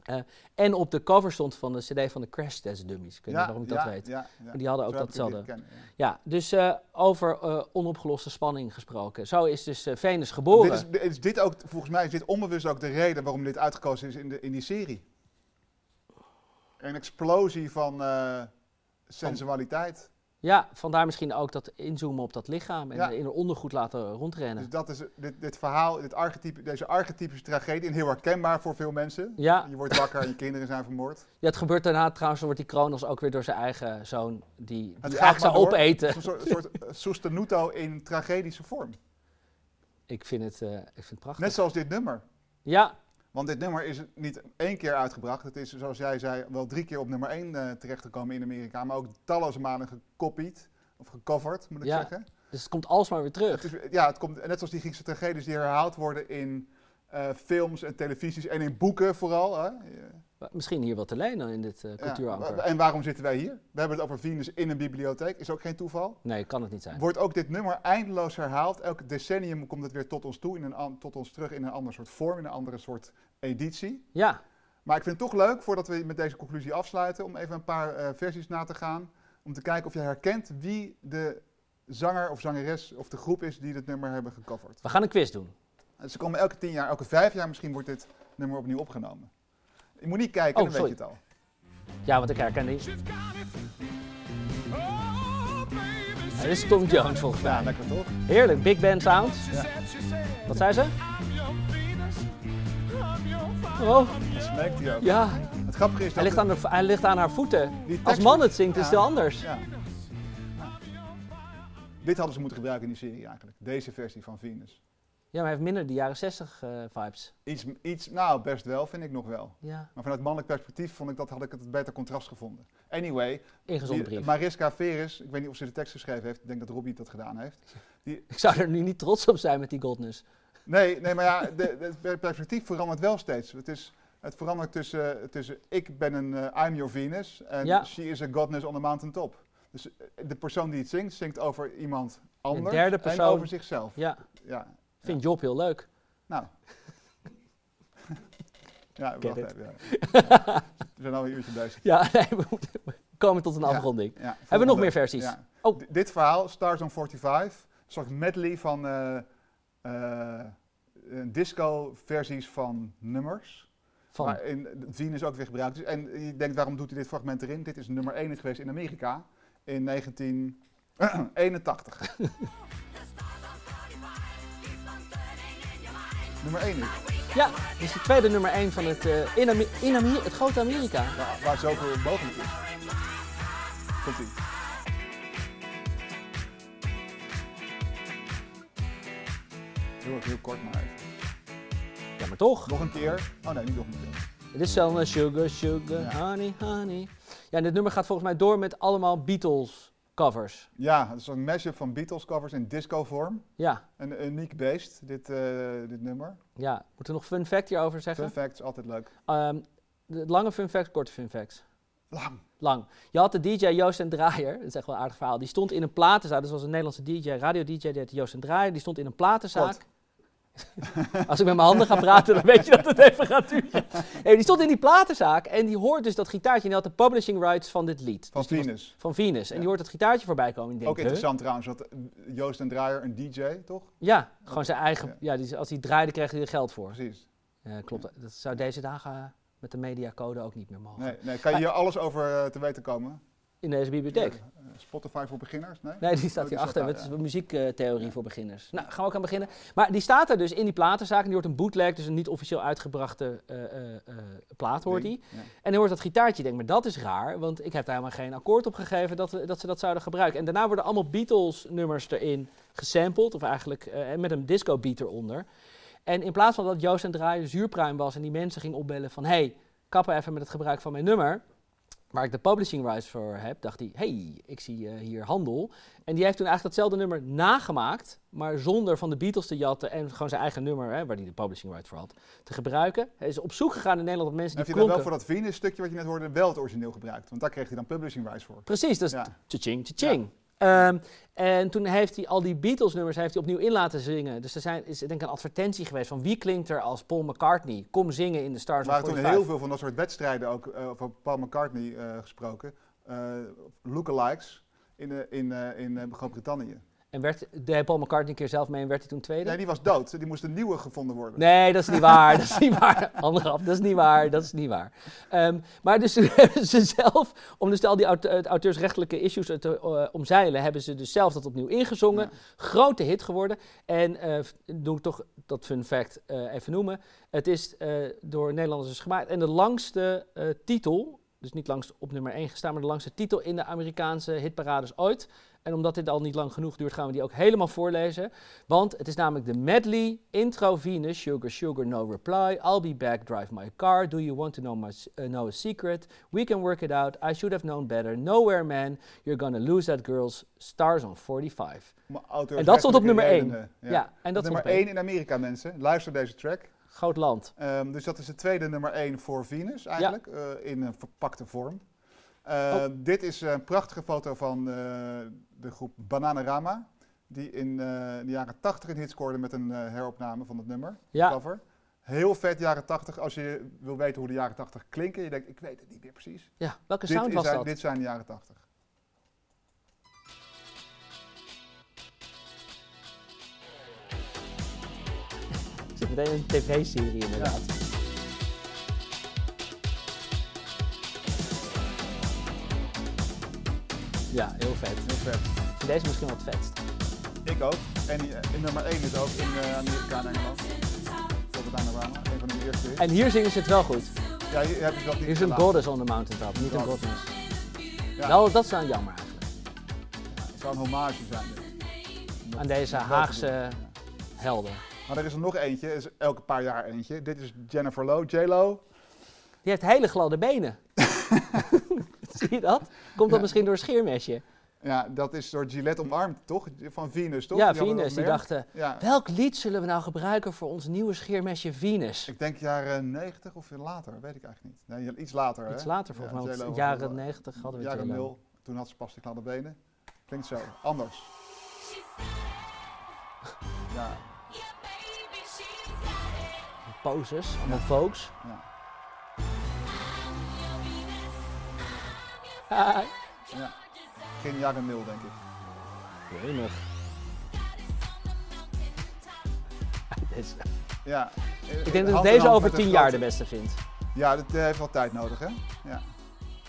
[SPEAKER 1] Eh, en op de cover stond van de CD van de Crash Test Dummies. Ik weet niet waarom ik dat
[SPEAKER 2] ja,
[SPEAKER 1] weet.
[SPEAKER 2] Ja, ja.
[SPEAKER 1] Maar die hadden ook
[SPEAKER 2] Zo heb ik het
[SPEAKER 1] datzelfde.
[SPEAKER 2] leren kennen, ja.
[SPEAKER 1] Ja, dus eh, over eh, onopgeloste spanning gesproken. Zo is dus eh, Venus geboren.
[SPEAKER 2] Dit is, dit is dit ook, volgens mij is dit onbewust ook de reden waarom dit uitgekozen is in, de, in die serie. Een explosie van eh, sensualiteit.
[SPEAKER 1] Ja, vandaar misschien ook dat inzoomen op dat lichaam en
[SPEAKER 2] Ja.
[SPEAKER 1] in haar ondergoed laten rondrennen.
[SPEAKER 2] Dus dat is dit, dit verhaal, dit archetype, deze archetypische tragedie, en heel herkenbaar voor veel mensen.
[SPEAKER 1] Ja.
[SPEAKER 2] Je wordt wakker en je kinderen zijn vermoord.
[SPEAKER 1] ja, het gebeurt daarna trouwens, dan wordt die Kronos ook weer door zijn eigen zoon, die,
[SPEAKER 2] Het
[SPEAKER 1] die
[SPEAKER 2] gaat
[SPEAKER 1] eigenlijk zou
[SPEAKER 2] maar door.
[SPEAKER 1] opeten.
[SPEAKER 2] Het is Een soort, soort eh, sostenuto in tragedische vorm.
[SPEAKER 1] Ik vind het, eh, ik vind het prachtig.
[SPEAKER 2] Net zoals dit nummer.
[SPEAKER 1] Ja,
[SPEAKER 2] Want dit nummer is niet één keer uitgebracht. Het is, zoals jij zei, wel drie keer op nummer één eh, terechtgekomen in Amerika. Maar ook talloze malen gekopied. Of gecoverd, moet ik
[SPEAKER 1] Ja.
[SPEAKER 2] zeggen.
[SPEAKER 1] dus het komt alsmaar weer terug.
[SPEAKER 2] Het is, ja, het komt, net zoals die Griekse tragedies die herhaald worden in eh, films en televisies. En in boeken vooral. Hè? Ja.
[SPEAKER 1] Wa- Misschien hier wat te leen dan in dit eh
[SPEAKER 2] Ja,
[SPEAKER 1] cultuuranker.
[SPEAKER 2] En waarom zitten wij hier? We hebben het over Venus in een bibliotheek. Is ook geen toeval.
[SPEAKER 1] Nee, kan het niet zijn.
[SPEAKER 2] Wordt ook dit nummer eindeloos herhaald. Elk decennium komt het weer tot ons toe, in een, an- tot ons terug in een ander soort vorm, in een andere soort editie.
[SPEAKER 1] Ja,
[SPEAKER 2] Maar ik vind het toch leuk, voordat we met deze conclusie afsluiten, om even een paar eh, versies na te gaan. Om te kijken of je herkent wie de zanger of zangeres of de groep is die dit nummer hebben gecoverd.
[SPEAKER 1] we gaan een quiz doen.
[SPEAKER 2] En Ze komen elke tien jaar, elke vijf jaar misschien wordt dit nummer opnieuw opgenomen. Je moet niet kijken,
[SPEAKER 1] Oh,
[SPEAKER 2] dan weet je het al.
[SPEAKER 1] Ja, want ik herken die.
[SPEAKER 6] She's got it. Oh, baby,
[SPEAKER 1] Ja, dit is Tom Jones volgens
[SPEAKER 2] Ja,
[SPEAKER 1] mij.
[SPEAKER 2] lekker toch?
[SPEAKER 1] Heerlijk, big band sounds.
[SPEAKER 2] Ja.
[SPEAKER 6] said, she said,
[SPEAKER 1] Wat zei ze?
[SPEAKER 6] I'm your Venus. I'm your fire.
[SPEAKER 1] Oh,
[SPEAKER 2] Dat smaakt hij ook.
[SPEAKER 1] ja.
[SPEAKER 2] Het grappige is
[SPEAKER 1] Hij
[SPEAKER 2] dat...
[SPEAKER 1] ligt aan, de, hij ligt aan haar voeten.
[SPEAKER 2] die tekst-
[SPEAKER 1] Als man het zingt is het
[SPEAKER 2] Ja.
[SPEAKER 1] heel anders.
[SPEAKER 2] Ja. Dit hadden ze moeten gebruiken in die serie eigenlijk. Deze versie van Venus.
[SPEAKER 1] Ja, maar hij heeft minder die jaren 60 eh, vibes.
[SPEAKER 2] Iets, iets, nou best wel, vind ik nog wel.
[SPEAKER 1] Ja,
[SPEAKER 2] Maar vanuit mannelijk perspectief vond ik dat, had ik het beter contrast gevonden. Anyway,
[SPEAKER 1] ingezonden
[SPEAKER 2] die-
[SPEAKER 1] brief.
[SPEAKER 2] Mariska Veres, ik weet niet of ze de tekst geschreven heeft, ik denk dat Robbie dat gedaan heeft.
[SPEAKER 1] Ik zou er nu niet trots op zijn met die goldness.
[SPEAKER 2] Nee, nee maar ja, de, de- het perspectief verandert wel steeds. Het, is, het verandert tussen, tussen ik ben een eh, I'm your Venus en
[SPEAKER 1] Ja.
[SPEAKER 2] she is a godness on the mountain top. Dus eh, de persoon die het zingt, zingt over iemand anders
[SPEAKER 1] derde
[SPEAKER 2] en
[SPEAKER 1] persoon.
[SPEAKER 2] over zichzelf.
[SPEAKER 1] Ja,
[SPEAKER 2] Ja,
[SPEAKER 1] vind Job heel leuk. [laughs]
[SPEAKER 2] nou. ja, wacht
[SPEAKER 1] it.
[SPEAKER 2] even. Ja. We zijn al een uurtje bezig.
[SPEAKER 1] Ja, [laughs] nee, we, moeten, we komen tot een afronding.
[SPEAKER 2] Ja,
[SPEAKER 1] Hebben we nog
[SPEAKER 2] volgende.
[SPEAKER 1] meer versies?
[SPEAKER 2] Ja.
[SPEAKER 1] Oh.
[SPEAKER 2] D- dit verhaal, Stars on 45, een soort medley van eh, eh, eh, disco-versies van nummers.
[SPEAKER 1] Van,
[SPEAKER 2] Maar in Venus ook weer gebruikt. is. En je denkt, waarom doet hij dit fragment erin? Dit is nummer 1 geweest in Amerika in [clears throat] 1981. nummer 1 is,
[SPEAKER 1] ja, dit is de tweede nummer 1 van het, eh, in Ame- in Ame- het grote Amerika.
[SPEAKER 2] waar, Nou, waar zoveel mogelijk is. Komt ie. Heel, heel kort maar even.
[SPEAKER 1] Ja, maar toch.
[SPEAKER 2] Nog een keer. Oh nee, niet nog een keer.
[SPEAKER 1] Dit is zo'n eh, sugar, sugar,
[SPEAKER 2] Ja.
[SPEAKER 1] honey, honey. Ja, en dit nummer gaat volgens mij door met allemaal Beatles covers.
[SPEAKER 2] Ja, het is een mashup van Beatles covers in disco vorm.
[SPEAKER 1] Ja,
[SPEAKER 2] Een uniek beest, dit, eh, dit nummer.
[SPEAKER 1] ja. Moeten we nog fun fact hierover zeggen?
[SPEAKER 2] Fun fact is altijd leuk.
[SPEAKER 1] Ehm, de lange fun fact, korte fun fact.
[SPEAKER 2] Lang.
[SPEAKER 1] Lang. Je had de DJ Joost en Draaier, dat is echt wel een aardig verhaal. Die stond in een platenzaak, dus was een Nederlandse DJ, radio DJ, die heette Joost en Draaier. Die stond in een platenzaak. Als ik met mijn handen ga praten, dan weet je dat het even gaat
[SPEAKER 2] [laughs]
[SPEAKER 1] duren. Nee, die stond in die platenzaak en die hoort dus dat gitaartje. En die had de publishing rights van dit lied.
[SPEAKER 2] Van
[SPEAKER 1] Dus die was-
[SPEAKER 2] Venus.
[SPEAKER 1] Van Venus. En
[SPEAKER 2] Ja.
[SPEAKER 1] die hoort het gitaartje voorbij komen. En die
[SPEAKER 2] Ook
[SPEAKER 1] denkt, huh?
[SPEAKER 2] interessant trouwens, dat eh, Joost en Draaier, een DJ, toch?
[SPEAKER 1] Ja, gewoon zijn eigen.
[SPEAKER 2] Ja.
[SPEAKER 1] Ja, die, als hij draaide, kreeg hij er geld voor.
[SPEAKER 2] Precies.
[SPEAKER 1] Eh, klopt. Dat zou deze dagen eh, met de mediacode ook niet meer mogen.
[SPEAKER 2] Nee, nee, kan je hier alles over eh, te weten komen?
[SPEAKER 1] In deze bibliotheek.
[SPEAKER 2] Eh, Spotify voor beginners? Nee?
[SPEAKER 1] Nee, die staat
[SPEAKER 2] Oh,
[SPEAKER 1] hier
[SPEAKER 2] die
[SPEAKER 1] achter.
[SPEAKER 2] staat daar,
[SPEAKER 1] Het is
[SPEAKER 2] ja.
[SPEAKER 1] een muziektheorie voor beginners. Nou, gaan we ook aan beginnen. Maar die staat er dus in die platenzaak. En die hoort een bootleg, dus een niet officieel uitgebrachte eh, eh, eh, plaat hoort die.
[SPEAKER 2] Ding. Ja.
[SPEAKER 1] En hij hoort dat gitaartje. Ik denk, maar dat is raar, want ik heb daar helemaal geen akkoord op gegeven dat, we- dat ze dat zouden gebruiken. En daarna worden allemaal Beatles-nummers erin gesampled, of eigenlijk eh, en met een disco-beat eronder. En in plaats van dat Joost en Draai zuurpruim was en die mensen ging opbellen van... hey, kappen even met het gebruik van mijn nummer, waar ik de publishing rights voor heb, dacht hij... hey, ik zie eh, hier handel. En die heeft toen eigenlijk datzelfde nummer nagemaakt, maar zonder van de Beatles te jatten... en gewoon zijn eigen nummer, hè, waar hij de publishing rights voor had, te gebruiken. Hij is op zoek gegaan in Nederland op mensen die
[SPEAKER 2] Heb je dan wel
[SPEAKER 1] klonken-
[SPEAKER 2] voor dat Venus stukje wat je net hoorde, wel het origineel gebruikt? Want daar kreeg hij dan publishing rights voor.
[SPEAKER 1] Precies, dat is
[SPEAKER 2] Ja.
[SPEAKER 1] tjaching, tjaching. Ehm, en toen heeft hij al die Beatles-nummers heeft hij opnieuw in laten zingen. Dus er zijn, is denk ik een advertentie geweest van wie klinkt er als Paul McCartney? Kom zingen in de Stars
[SPEAKER 2] Er waren
[SPEAKER 1] of
[SPEAKER 2] toen heel
[SPEAKER 1] 45.
[SPEAKER 2] veel van dat soort wedstrijden ook, eh, over Paul McCartney eh, gesproken, eh lookalikes in, eh, in, eh, in eh, Groot-Brittannië.
[SPEAKER 1] En werd, deed Paul McCartney een keer zelf mee en werd hij toen tweede?
[SPEAKER 2] Nee, die was dood. Die moest een nieuwe gevonden worden.
[SPEAKER 1] Nee, dat is niet waar. Dat is niet waar. Anderaf, dat is niet waar. Dat is niet waar. Ehm, maar dus [laughs] toen hebben ze zelf, om dus al die aut- eh, auteursrechtelijke issues te eh, omzeilen, hebben ze dus zelf dat opnieuw ingezongen. Grote hit geworden. En eh, f- doe ik toch dat fun fact eh, even noemen. Het is eh, door Nederlanders dus gemaakt. En de langste eh, titel, dus niet langst op nummer 1 gestaan, maar de langste titel in de Amerikaanse hitparades ooit. En omdat dit al niet lang genoeg duurt, gaan we die ook helemaal voorlezen. Want het is namelijk de medley, intro Venus, Sugar Sugar No Reply, I'll Be Back, Drive My Car, Do You Want To Know, my, S- eh, know A Secret, We Can Work It Out, I Should Have Known Better, Nowhere Man, You're Gonna Lose That Girls, Stars on 45. En
[SPEAKER 2] Om
[SPEAKER 1] dat stond op
[SPEAKER 2] auteursrechtelijke
[SPEAKER 1] nummer één.
[SPEAKER 2] redenen,
[SPEAKER 1] Ja, en dat
[SPEAKER 2] nummer
[SPEAKER 1] stond op één.
[SPEAKER 2] 1 in Amerika, mensen. Luister deze track.
[SPEAKER 1] Groot land.
[SPEAKER 2] Ehm, dus dat is de tweede nummer 1 voor Venus eigenlijk, eh, in een verpakte vorm. Eh,
[SPEAKER 1] Oh.
[SPEAKER 2] Dit is een prachtige foto van eh, de groep Bananarama, die in eh, de jaren 80 een hit scoorde met een eh, heropname van het nummer,
[SPEAKER 1] Ja,
[SPEAKER 2] cover. Heel vet jaren 80, als je wil weten hoe de jaren 80 klinken, je denkt, ik weet het niet meer precies.
[SPEAKER 1] ja. welke
[SPEAKER 2] Dit,
[SPEAKER 1] sound
[SPEAKER 2] is
[SPEAKER 1] was
[SPEAKER 2] uit-
[SPEAKER 1] dat?
[SPEAKER 2] dit zijn de jaren 80.
[SPEAKER 1] Er zit meteen een tv-serie inderdaad. Ja, heel vet.
[SPEAKER 2] Heel vet.
[SPEAKER 1] Ik vind deze misschien wel het vetst.
[SPEAKER 2] Ik ook. En die, eh, nummer 1 is ook in eh, Amerika en Engeland. Voor Bananarama, een van de eerste hits.
[SPEAKER 1] En hier zingen ze het wel goed.
[SPEAKER 2] Ja, hier heb je dus dat niet
[SPEAKER 1] Hier is een
[SPEAKER 2] gelaten.
[SPEAKER 1] goddess on the mountaintop, niet een
[SPEAKER 2] Goddess.
[SPEAKER 1] godness.
[SPEAKER 2] Ja.
[SPEAKER 1] Wel, dat is nou jammer eigenlijk.
[SPEAKER 2] Het zou een hommage zijn. dit.
[SPEAKER 1] Aan
[SPEAKER 2] Om dat-
[SPEAKER 1] deze
[SPEAKER 2] om dat te
[SPEAKER 1] Haagse-
[SPEAKER 2] doen. Ja.
[SPEAKER 1] Helden.
[SPEAKER 2] Maar er is er nog eentje, er is elke paar jaar eentje. Dit is Jennifer Low, J-Lo.
[SPEAKER 1] Die heeft hele gladde
[SPEAKER 2] [laughs]
[SPEAKER 1] benen. Zie je dat? Komt dat
[SPEAKER 2] Ja.
[SPEAKER 1] misschien door een scheermesje?
[SPEAKER 2] Ja, dat is door Gillette omarmd, toch? Van Venus, toch?
[SPEAKER 1] ja,
[SPEAKER 2] Die hadden
[SPEAKER 1] Venus.
[SPEAKER 2] dat
[SPEAKER 1] Die
[SPEAKER 2] merk.
[SPEAKER 1] dachten,
[SPEAKER 2] Ja,
[SPEAKER 1] welk lied zullen we nou gebruiken voor ons nieuwe scheermesje Venus?
[SPEAKER 2] ik denk jaren 90 of later, weet ik eigenlijk niet. Nee, iets later,
[SPEAKER 1] Iets
[SPEAKER 2] hè?
[SPEAKER 1] later volgens
[SPEAKER 2] Ja,
[SPEAKER 1] mij,
[SPEAKER 2] J.Lo
[SPEAKER 1] want
[SPEAKER 2] was
[SPEAKER 1] jaren
[SPEAKER 2] wel-
[SPEAKER 1] 90 hadden we eh,
[SPEAKER 2] Jaren
[SPEAKER 1] J.Lo.
[SPEAKER 2] nul, toen had ze pas die gladde benen. Klinkt zo, anders. Ja,
[SPEAKER 1] Poses, allemaal
[SPEAKER 2] [laughs]
[SPEAKER 1] folks.
[SPEAKER 2] ja.
[SPEAKER 1] Ah,
[SPEAKER 2] Begin jaren nul, denk ik.
[SPEAKER 1] deze-
[SPEAKER 2] Ja. Eh,
[SPEAKER 1] Ik denk dat ik deze over tien jaar de beste vind.
[SPEAKER 2] Ja, dat eh, heeft wel tijd nodig, hè?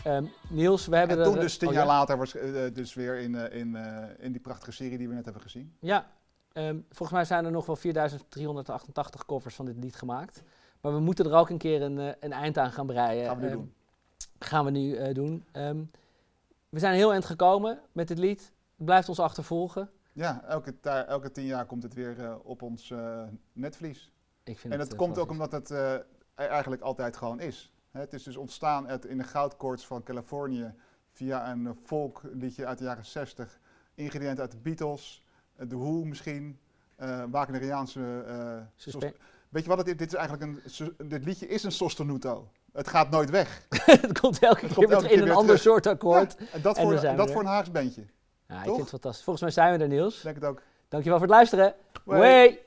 [SPEAKER 1] Ehm, Niels, we hebben
[SPEAKER 2] En
[SPEAKER 1] er-
[SPEAKER 2] toen dus tien
[SPEAKER 1] oh,
[SPEAKER 2] jaar
[SPEAKER 1] ja?
[SPEAKER 2] later was eh, eh, dus weer in, eh, in, eh, in die prachtige serie die we net hebben gezien.
[SPEAKER 1] Ja, ehm, volgens mij zijn er nog wel 4388 covers van dit lied gemaakt. Maar we moeten er ook een keer een, eh, een eind aan gaan breien.
[SPEAKER 2] Gaan we nu
[SPEAKER 1] Ehm,
[SPEAKER 2] doen.
[SPEAKER 1] Gaan we nu eh, doen. Ehm, we zijn heel eind gekomen met dit lied. Het blijft ons achtervolgen.
[SPEAKER 2] Ja, elke, ta- elke tien jaar komt het weer eh, op ons eh, netvlies.
[SPEAKER 1] Ik vind
[SPEAKER 2] en
[SPEAKER 1] het,
[SPEAKER 2] dat
[SPEAKER 1] eh,
[SPEAKER 2] komt ook
[SPEAKER 1] fantastisch.
[SPEAKER 2] omdat het eh, er eigenlijk altijd gewoon is. Hè, het is dus ontstaan uit, in de goudkoorts van Californië via een eh, folkliedje uit de jaren 60. Ingrediënten uit de Beatles, eh, de Who misschien, eh Wagneriaanse... eh,
[SPEAKER 1] Suspe-
[SPEAKER 2] sos- Weet je wat het is? Dit, is eigenlijk een, so- dit liedje is een sostenuto. Het gaat nooit weg.
[SPEAKER 1] [laughs] het komt
[SPEAKER 2] [laughs]
[SPEAKER 1] elke
[SPEAKER 2] komt
[SPEAKER 1] keer weer
[SPEAKER 2] elke keer
[SPEAKER 1] in een
[SPEAKER 2] weer
[SPEAKER 1] ander
[SPEAKER 2] terug.
[SPEAKER 1] soort akkoord.
[SPEAKER 2] Ja, en dat
[SPEAKER 1] En
[SPEAKER 2] voor,
[SPEAKER 1] dan zijn we
[SPEAKER 2] dat
[SPEAKER 1] er.
[SPEAKER 2] voor een Haags bandje.
[SPEAKER 1] Ja, ik
[SPEAKER 2] Toch?
[SPEAKER 1] vind het fantastisch. Volgens mij zijn we er, Niels.
[SPEAKER 2] Ik denk het ook.
[SPEAKER 1] Dankjewel voor het luisteren.
[SPEAKER 2] Hoi.
[SPEAKER 1] Hoi.